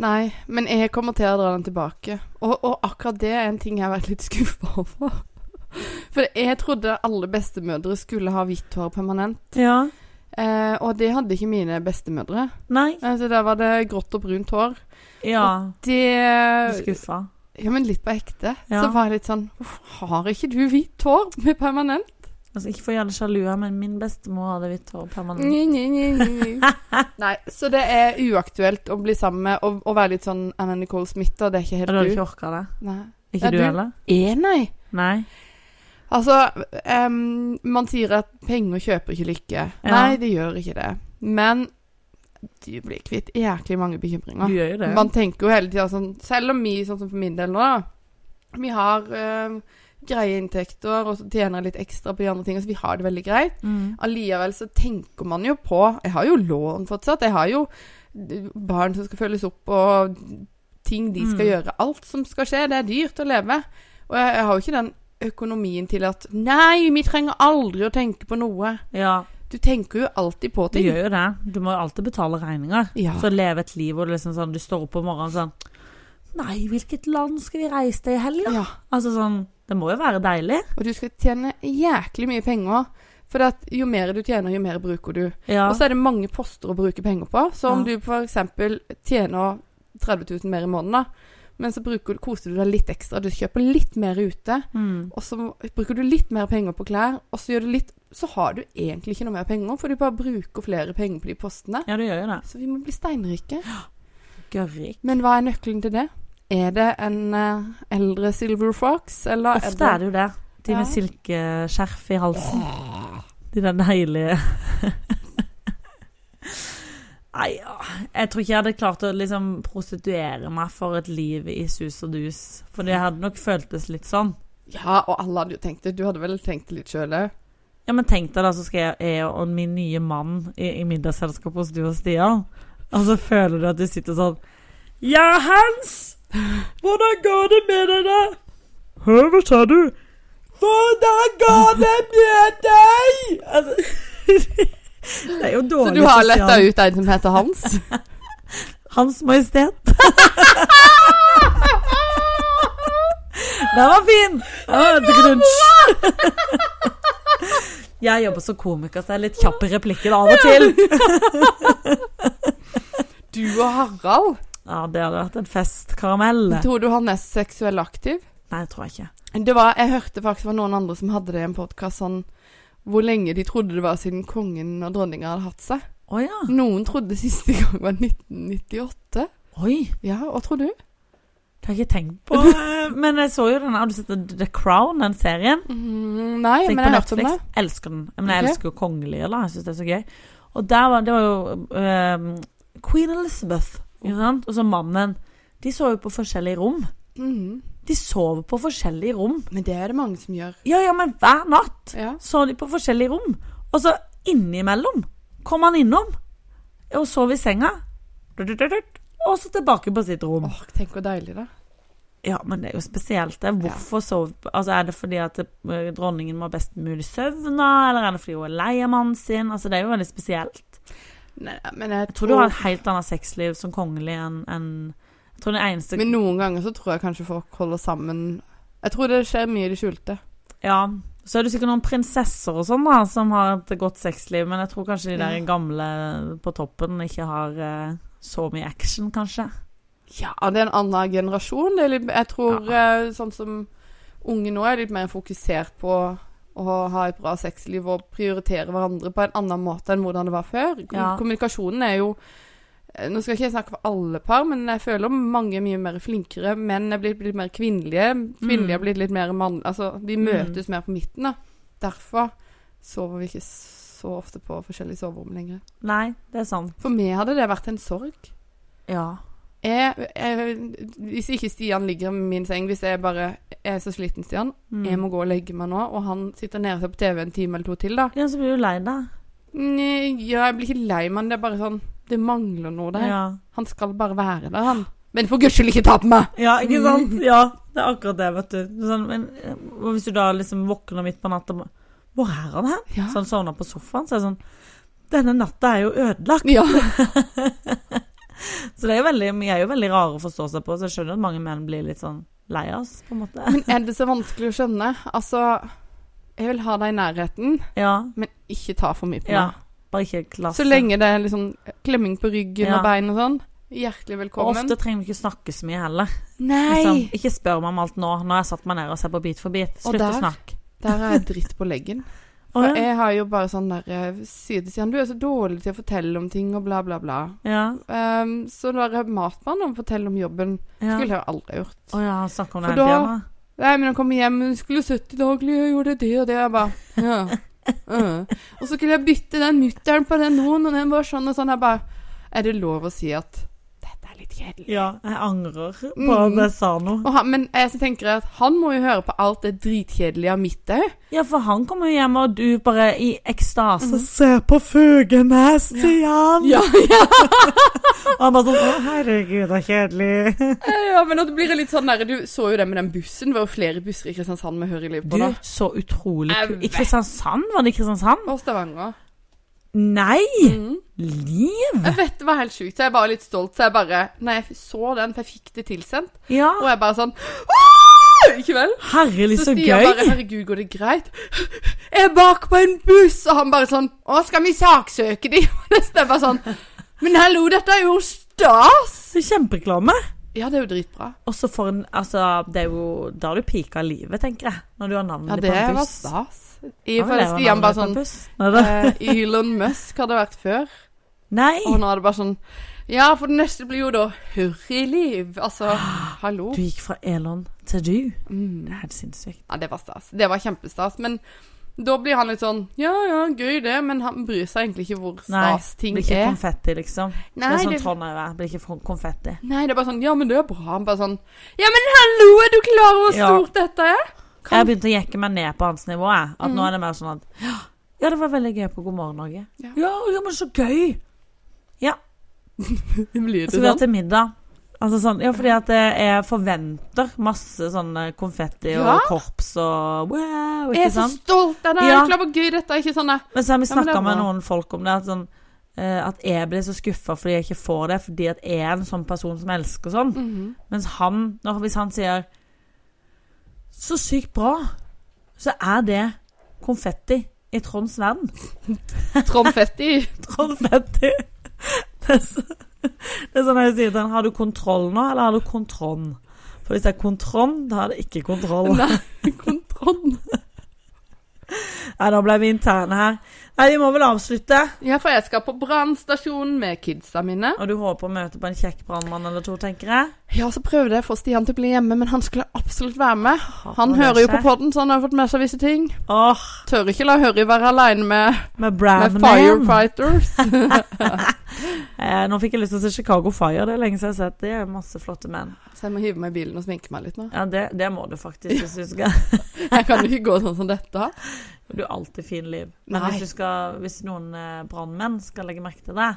Speaker 2: Nei, men jeg kommer til å dra den tilbake. Og, og akkurat det er en ting jeg har vært litt skuffa over. For jeg trodde alle bestemødre skulle ha hvitt hår permanent.
Speaker 1: Ja.
Speaker 2: Eh, og det hadde ikke mine bestemødre.
Speaker 1: Nei.
Speaker 2: Altså, der var det grått og brunt hår.
Speaker 1: Ja.
Speaker 2: Det
Speaker 1: Skuffa.
Speaker 2: Ja, men litt på ekte.
Speaker 1: Ja.
Speaker 2: Så var jeg litt sånn "Hvorfor Har ikke du hvitt hår med permanent?
Speaker 1: Altså, ikke for å gjøre det sjalu, her, men min bestemor hadde hvitt hår permanent.
Speaker 2: Nye, nye, nye, nye, nye. Nei, så det er uaktuelt å bli sammen med og, og være litt sånn Anna Nicole Smith, og det er ikke
Speaker 1: Ja, Du hadde
Speaker 2: helt du.
Speaker 1: ikke orka det?
Speaker 2: Nei.
Speaker 1: Ikke
Speaker 2: Ja,
Speaker 1: du
Speaker 2: du-
Speaker 1: heller?
Speaker 2: Er, nei.
Speaker 1: Nei.
Speaker 2: Altså, em, man sier at penger kjøper ikke lykke.
Speaker 1: Ja.
Speaker 2: Nei, det gjør ikke det. Men du blir kvitt jæklig mange
Speaker 1: Du
Speaker 2: bekymringer.
Speaker 1: gjør jo det.
Speaker 2: Man tenker jo hele tida sånn Selv om vi, sånn som for min del nå, da Vi har em, greie inntekter og så tjener litt ekstra på de andre tingene, så vi har det veldig greit.
Speaker 1: Mm.
Speaker 2: Allikevel så tenker man jo på Jeg har jo lån fortsatt. Jeg har jo barn som skal følges opp, og ting de skal
Speaker 1: Mm.
Speaker 2: gjøre. Alt som skal skje. Det er dyrt å leve. Og jeg, jeg har jo ikke den økonomien til at Nei, vi trenger aldri å tenke på noe.
Speaker 1: Ja,
Speaker 2: Du tenker jo alltid på
Speaker 1: du
Speaker 2: ting.
Speaker 1: gjør jo det. Du må jo alltid betale regninger.
Speaker 2: Ja.
Speaker 1: Så leve et liv hvor du liksom sånn, du står opp om morgenen sånn Nei, hvilket land skal vi reise til i helga?
Speaker 2: ja.
Speaker 1: Altså sånn Det må jo være deilig.
Speaker 2: Og du skal tjene jæklig mye penger. For at jo mer du tjener, jo mer bruker du.
Speaker 1: Ja.
Speaker 2: Og så er det mange poster å bruke penger på. Så om
Speaker 1: Ja.
Speaker 2: du f.eks. tjener 30 000 mer i måneden, da, men så bruker, du- koser du deg litt ekstra. Du kjøper litt mer ute,
Speaker 1: mm.
Speaker 2: og så bruker du litt mer penger på klær, og så gjør du litt Så har du egentlig ikke noe mer penger, for du bare bruker flere penger på de postene.
Speaker 1: ja, du gjør jo det.
Speaker 2: Så vi må bli steinrike.
Speaker 1: Gørrik.
Speaker 2: Men hva er nøkkelen til det? Er det en eh, eldre Silver Fox, eller
Speaker 1: Ofte er det jo det. De
Speaker 2: Ja.
Speaker 1: med silkeskjerf i halsen. De der deilige Nei, ja. jeg tror ikke jeg hadde klart å liksom prostituere meg for et liv i sus og dus. For det hadde nok føltes litt sånn.
Speaker 2: Ja, og alle hadde jo tenkt det. Du hadde vel tenkt det litt sjøl òg?
Speaker 1: Ja, men tenk deg da, så skal jeg, jeg og min nye mann i, i middagsselskap hos du og Stian. Og så føler du at du sitter sånn Ja, Hans! Hvordan går det med deg, da? Hæ, hva sa du? Hvordan går det med deg? Altså, det er jo
Speaker 2: Så
Speaker 1: dårlig
Speaker 2: du har
Speaker 1: sosial-
Speaker 2: letta ut en som heter Hans?
Speaker 1: Hans Majestet. Den var fin! Ah, drunch. Jeg jobber som komiker, så jeg er litt kjapp i replikken av og til.
Speaker 2: Du og Harald?
Speaker 1: Ja, Det hadde vært en festkaramell.
Speaker 2: Tror du han er seksuell aktiv?
Speaker 1: Nei, tror jeg ikke.
Speaker 2: Det var, jeg hørte faktisk det var noen andre som hadde det i en podkast sånn hvor lenge de trodde det var siden kongen og dronninga hadde hatt seg.
Speaker 1: Å ja.
Speaker 2: Noen trodde siste gang var 1998.
Speaker 1: Oi.
Speaker 2: Ja, hva tror du?
Speaker 1: Det har jeg ikke tenkt på. Eh, Men jeg så jo den. Har du sett The Crown, den serien?
Speaker 2: Mm, nei,
Speaker 1: Tenk på
Speaker 2: men jeg har hørt om det.
Speaker 1: Netflix. Elsker den. Men jeg
Speaker 2: Ok.
Speaker 1: elsker jo kongelige, da. Jeg syns det er så gøy. Og der var det var jo ehm, Queen Elizabeth,
Speaker 2: Oh.
Speaker 1: ikke sant? Og så mannen. De sov jo på forskjellige rom.
Speaker 2: Mm,
Speaker 1: De sov på forskjellige rom.
Speaker 2: men det er det mange som gjør.
Speaker 1: Ja, ja, men hver natt
Speaker 2: Ja.
Speaker 1: sov de på forskjellige rom. Og så innimellom kom han innom og sov i senga. Dut-dut-dut. Og så tilbake på sitt rom.
Speaker 2: Åh, tenk hvor deilig, da.
Speaker 1: Ja, men det er jo spesielt. Det. Hvorfor sov Altså, Er det fordi at eh, dronningen må ha best mulig søvn, da? Eller er det fordi hun er lei av mannen sin? Altså, Det er jo veldig spesielt.
Speaker 2: Nei, men jeg
Speaker 1: Jeg tror du har et helt annet sexliv som kongelig enn enn- Jeg tror det eneste
Speaker 2: Men noen ganger så tror jeg kanskje folk holder sammen Jeg tror det skjer mye i det skjulte.
Speaker 1: Ja, Så er det sikkert noen prinsesser og sånn da, som har et godt sexliv, men jeg tror kanskje de der
Speaker 2: Ja.
Speaker 1: gamle på toppen ikke har eh, så mye action, kanskje.
Speaker 2: Ja, det er en annen generasjon. Det er litt, jeg tror eh, sånn som unge nå er litt mer fokusert på å ha et bra sexliv og prioritere hverandre på en annen måte enn hvordan det var før. Kom-
Speaker 1: Ja.
Speaker 2: Kommunikasjonen er jo eh, Nå skal ikke jeg snakke for alle par, men jeg føler mange er mye mer flinkere. Menn er blitt, blitt mer kvinnelige. Kvinnelige er blitt litt mer mannlige. Altså, de møtes mer på midten, da. Derfor sover vi ikke så ofte på forskjellige soverom lenger.
Speaker 1: Nei, det er sant.
Speaker 2: For meg hadde det vært en sorg.
Speaker 1: Ja.
Speaker 2: Jeg, jeg, hvis ikke Stian ligger i min seng, hvis jeg bare jeg er så sliten, Stian
Speaker 1: Mm.
Speaker 2: Jeg må gå og legge meg nå, og han sitter nede og ser på TV en time eller to til, da.
Speaker 1: ja, så blir du lei deg.
Speaker 2: Nei, Ja, jeg blir ikke lei meg, men det er bare sånn Det mangler noe der.
Speaker 1: Ja.
Speaker 2: Han skal bare være der, han. Men for guds skyld, ikke ta på meg!
Speaker 1: ja, ikke sant? Ja, det er akkurat det, vet du. Sånn, men eh, og hvis du da liksom våkner midt på natta og bare, Hvor er han hen?
Speaker 2: Ja.
Speaker 1: Så han sovner på sofaen, så er det sånn Denne natta er jo ødelagt.
Speaker 2: ja.
Speaker 1: Så det er jo veldig, vi er jo veldig rare å forstå seg på, så jeg skjønner at mange menn blir litt sånn lei oss, på en måte.
Speaker 2: Men er det så vanskelig å skjønne? Altså Jeg vil ha deg i nærheten,
Speaker 1: Ja.
Speaker 2: men ikke ta for mye på meg.
Speaker 1: ja. Bare ikke klasse.
Speaker 2: Så lenge det er liksom klemming på ryggen
Speaker 1: Ja.
Speaker 2: og bein og sånn. Hjertelig
Speaker 1: Og
Speaker 2: velkommen.
Speaker 1: ofte trenger vi ikke snakke så mye heller. Liksom,
Speaker 2: Nei!
Speaker 1: ikke spør meg om alt nå. Nå har jeg satt meg ned og sett på Bit for bit.
Speaker 2: Og
Speaker 1: Slutt å
Speaker 2: der-
Speaker 1: snakke.
Speaker 2: Der er jeg dritt på leggen.
Speaker 1: Å,
Speaker 2: For
Speaker 1: ja.
Speaker 2: jeg har jo bare sånn der eh, Sier det til han, du er så dårlig til å fortelle om ting og bla, bla, bla.
Speaker 1: Ja,
Speaker 2: Ehm, så da har jeg mast på han om å fortelle om jobben.
Speaker 1: ja.
Speaker 2: Skulle jeg aldri gjort.
Speaker 1: Å ja, han snakker om det
Speaker 2: For
Speaker 1: hele
Speaker 2: da-
Speaker 1: tiden, da.
Speaker 2: Nei, men han kom hjem, hun skulle sett i dag, Lia, jeg gjorde det og det. Jeg bare, ja. ja. Og så skulle jeg bytte den mutteren på den noen, og den var sånn og sånn. Jeg bare, er det lov å si at dette er litt kjedelig?
Speaker 1: Ja, jeg angrer på
Speaker 2: Mm.
Speaker 1: at jeg sa noe.
Speaker 2: Og han, men jeg tenker at han må jo høre på alt det dritkjedelige av mitt òg.
Speaker 1: Ja, for han kommer jo hjem, og du bare i ekstase Se på fugene, Stian!
Speaker 2: Ja, ja.
Speaker 1: Og han bare sånn Å, herregud, det er kjedelig.
Speaker 2: Ja, men at det blir litt sånn der, Du så jo det med den bussen. Det var jo flere busser i Kristiansand med høreliv på.
Speaker 1: Du,
Speaker 2: da.
Speaker 1: så utrolig
Speaker 2: Jeg
Speaker 1: kul. I
Speaker 2: vet.
Speaker 1: Kristiansand? Var det i Kristiansand?
Speaker 2: Og Stavanger.
Speaker 1: Nei!
Speaker 2: Mhm.
Speaker 1: Liv?
Speaker 2: Jeg vet det var helt sjukt, så jeg var litt stolt. Så jeg bare Nei, jeg så den, for jeg fikk det tilsendt.
Speaker 1: Ja.
Speaker 2: Og jeg bare sånn «Åh!» Ikke vel?
Speaker 1: Herlig, så,
Speaker 2: Stian bare
Speaker 1: gøy.
Speaker 2: Herregud, går det greit? Jeg er bak på en buss! Og han bare sånn Å, skal vi saksøke de? Og nesten jeg bare sånn Men hallo, dette er jo stas!
Speaker 1: Så Kjempereklame.
Speaker 2: Ja, det er jo dritbra.
Speaker 1: Og så for en Altså, det er jo da har du pika livet, tenker jeg. Når du har navnet
Speaker 2: Ja,
Speaker 1: ditt
Speaker 2: det
Speaker 1: på en
Speaker 2: var
Speaker 1: buss.
Speaker 2: stas. I,
Speaker 1: Ja,
Speaker 2: for
Speaker 1: det var
Speaker 2: Stian
Speaker 1: navnet på
Speaker 2: bare
Speaker 1: en
Speaker 2: sånn
Speaker 1: buss. Nei, det-
Speaker 2: eh, Elon Musk hadde vært før.
Speaker 1: Nei!
Speaker 2: Og nå er det bare sånn Ja, for det neste blir jo da Hurrigliv. Altså, hallo.
Speaker 1: Du gikk fra Elon til du.
Speaker 2: Mm.
Speaker 1: Det er helt sinnssykt.
Speaker 2: Ja, det var stas. Det var kjempestas. Men da blir han litt sånn Ja, ja, gøy det, men han bryr seg egentlig ikke hvor
Speaker 1: Nei,
Speaker 2: stas ting
Speaker 1: Blir ikke
Speaker 2: er.
Speaker 1: konfetti, liksom.
Speaker 2: Nei
Speaker 1: det er sånn
Speaker 2: det,
Speaker 1: Trond er. Blir ikke fon- konfetti.
Speaker 2: nei, det er bare sånn Ja, men det er bra. Han bare sånn Ja, men hallo, er du klar over hvor
Speaker 1: Ja.
Speaker 2: stort dette er? Kan- Mm.
Speaker 1: Jeg begynte å jekke meg ned på hans nivå. Jeg. At nå er det mer sånn at «Ja, Ja, det var veldig gøy på God morgen Norge.
Speaker 2: Ja.
Speaker 1: Ja, ja men så gøy!
Speaker 2: Blir sånn.
Speaker 1: Skal vi ha til middag? Altså sånn, ja, fordi at eh, jeg forventer masse sånn eh, konfetti og
Speaker 2: Ja.
Speaker 1: korps og wow, ikke
Speaker 2: Jeg er så
Speaker 1: sant?
Speaker 2: stolt av deg.
Speaker 1: Ja.
Speaker 2: Er du klar over hvor gøy dette er? Ikke sånn nei.
Speaker 1: Men så har vi
Speaker 2: Ja, men det
Speaker 1: snakka
Speaker 2: er
Speaker 1: med
Speaker 2: bra.
Speaker 1: noen folk om det, at, sånn, eh, at jeg blir så skuffa fordi jeg ikke får det, fordi at jeg er en sånn person som elsker sånn.
Speaker 2: Mhm.
Speaker 1: Mens han, når, hvis han sier 'så sykt bra', så er det konfetti i Tronds verden.
Speaker 2: Tromfetti.
Speaker 1: Trollfetti. Det er, så, det er sånn jeg sier til han Har du kontroll nå, eller har du kontronn? For hvis det er kontronn, da er det ikke kontroll. Nei,
Speaker 2: Nei, kontroll.
Speaker 1: da ble vi interne her. Nei, vi må vel avslutte.
Speaker 2: Ja, for jeg skal på brannstasjonen med kidsa mine.
Speaker 1: Og du håper å møte på en kjekk brannmann eller to, tenker jeg.
Speaker 2: Ja, så prøvde jeg å få Stian til å bli hjemme, men han skulle absolutt være med. Han
Speaker 1: Håper det
Speaker 2: hører jo på
Speaker 1: skjer.
Speaker 2: podden, så han har fått med seg visse ting.
Speaker 1: Åh,
Speaker 2: Tør ikke la Hurry være aleine med,
Speaker 1: med
Speaker 2: med
Speaker 1: Brandman.
Speaker 2: Firefighters.
Speaker 1: Eh, nå fikk jeg lyst til å se Chicago Fire. Det er lenge siden jeg har sett det. er masse flotte menn.
Speaker 2: Så jeg må hive meg i bilen og sminke meg litt nå.
Speaker 1: Ja, det, det må du faktisk hvis du skal.
Speaker 2: Jeg kan jo ikke gå sånn som dette.
Speaker 1: Du har alltid fin liv. Men
Speaker 2: Nei.
Speaker 1: hvis, du skal, hvis noen eh, brannmenn skal legge merke til deg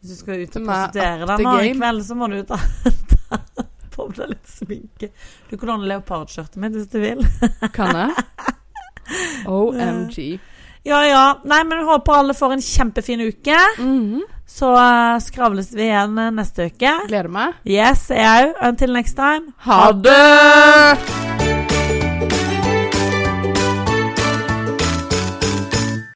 Speaker 1: Hvis du skal ut
Speaker 2: Som
Speaker 1: og
Speaker 2: er
Speaker 1: prostituere
Speaker 2: up
Speaker 1: deg
Speaker 2: the
Speaker 1: nå i
Speaker 2: game.
Speaker 1: kveld, så må du ta, ta på deg litt sminke. Du kan låne leopardskjørtet mitt hvis du vil.
Speaker 2: Kan jeg? OMG.
Speaker 1: Ja ja. Nei, men jeg håper alle får en kjempefin uke.
Speaker 2: Mhm.
Speaker 1: Så eh, skravles vi igjen eh, neste uke.
Speaker 2: Gleder meg.
Speaker 1: Yes, jeg òg. Until next time.
Speaker 2: Ha det!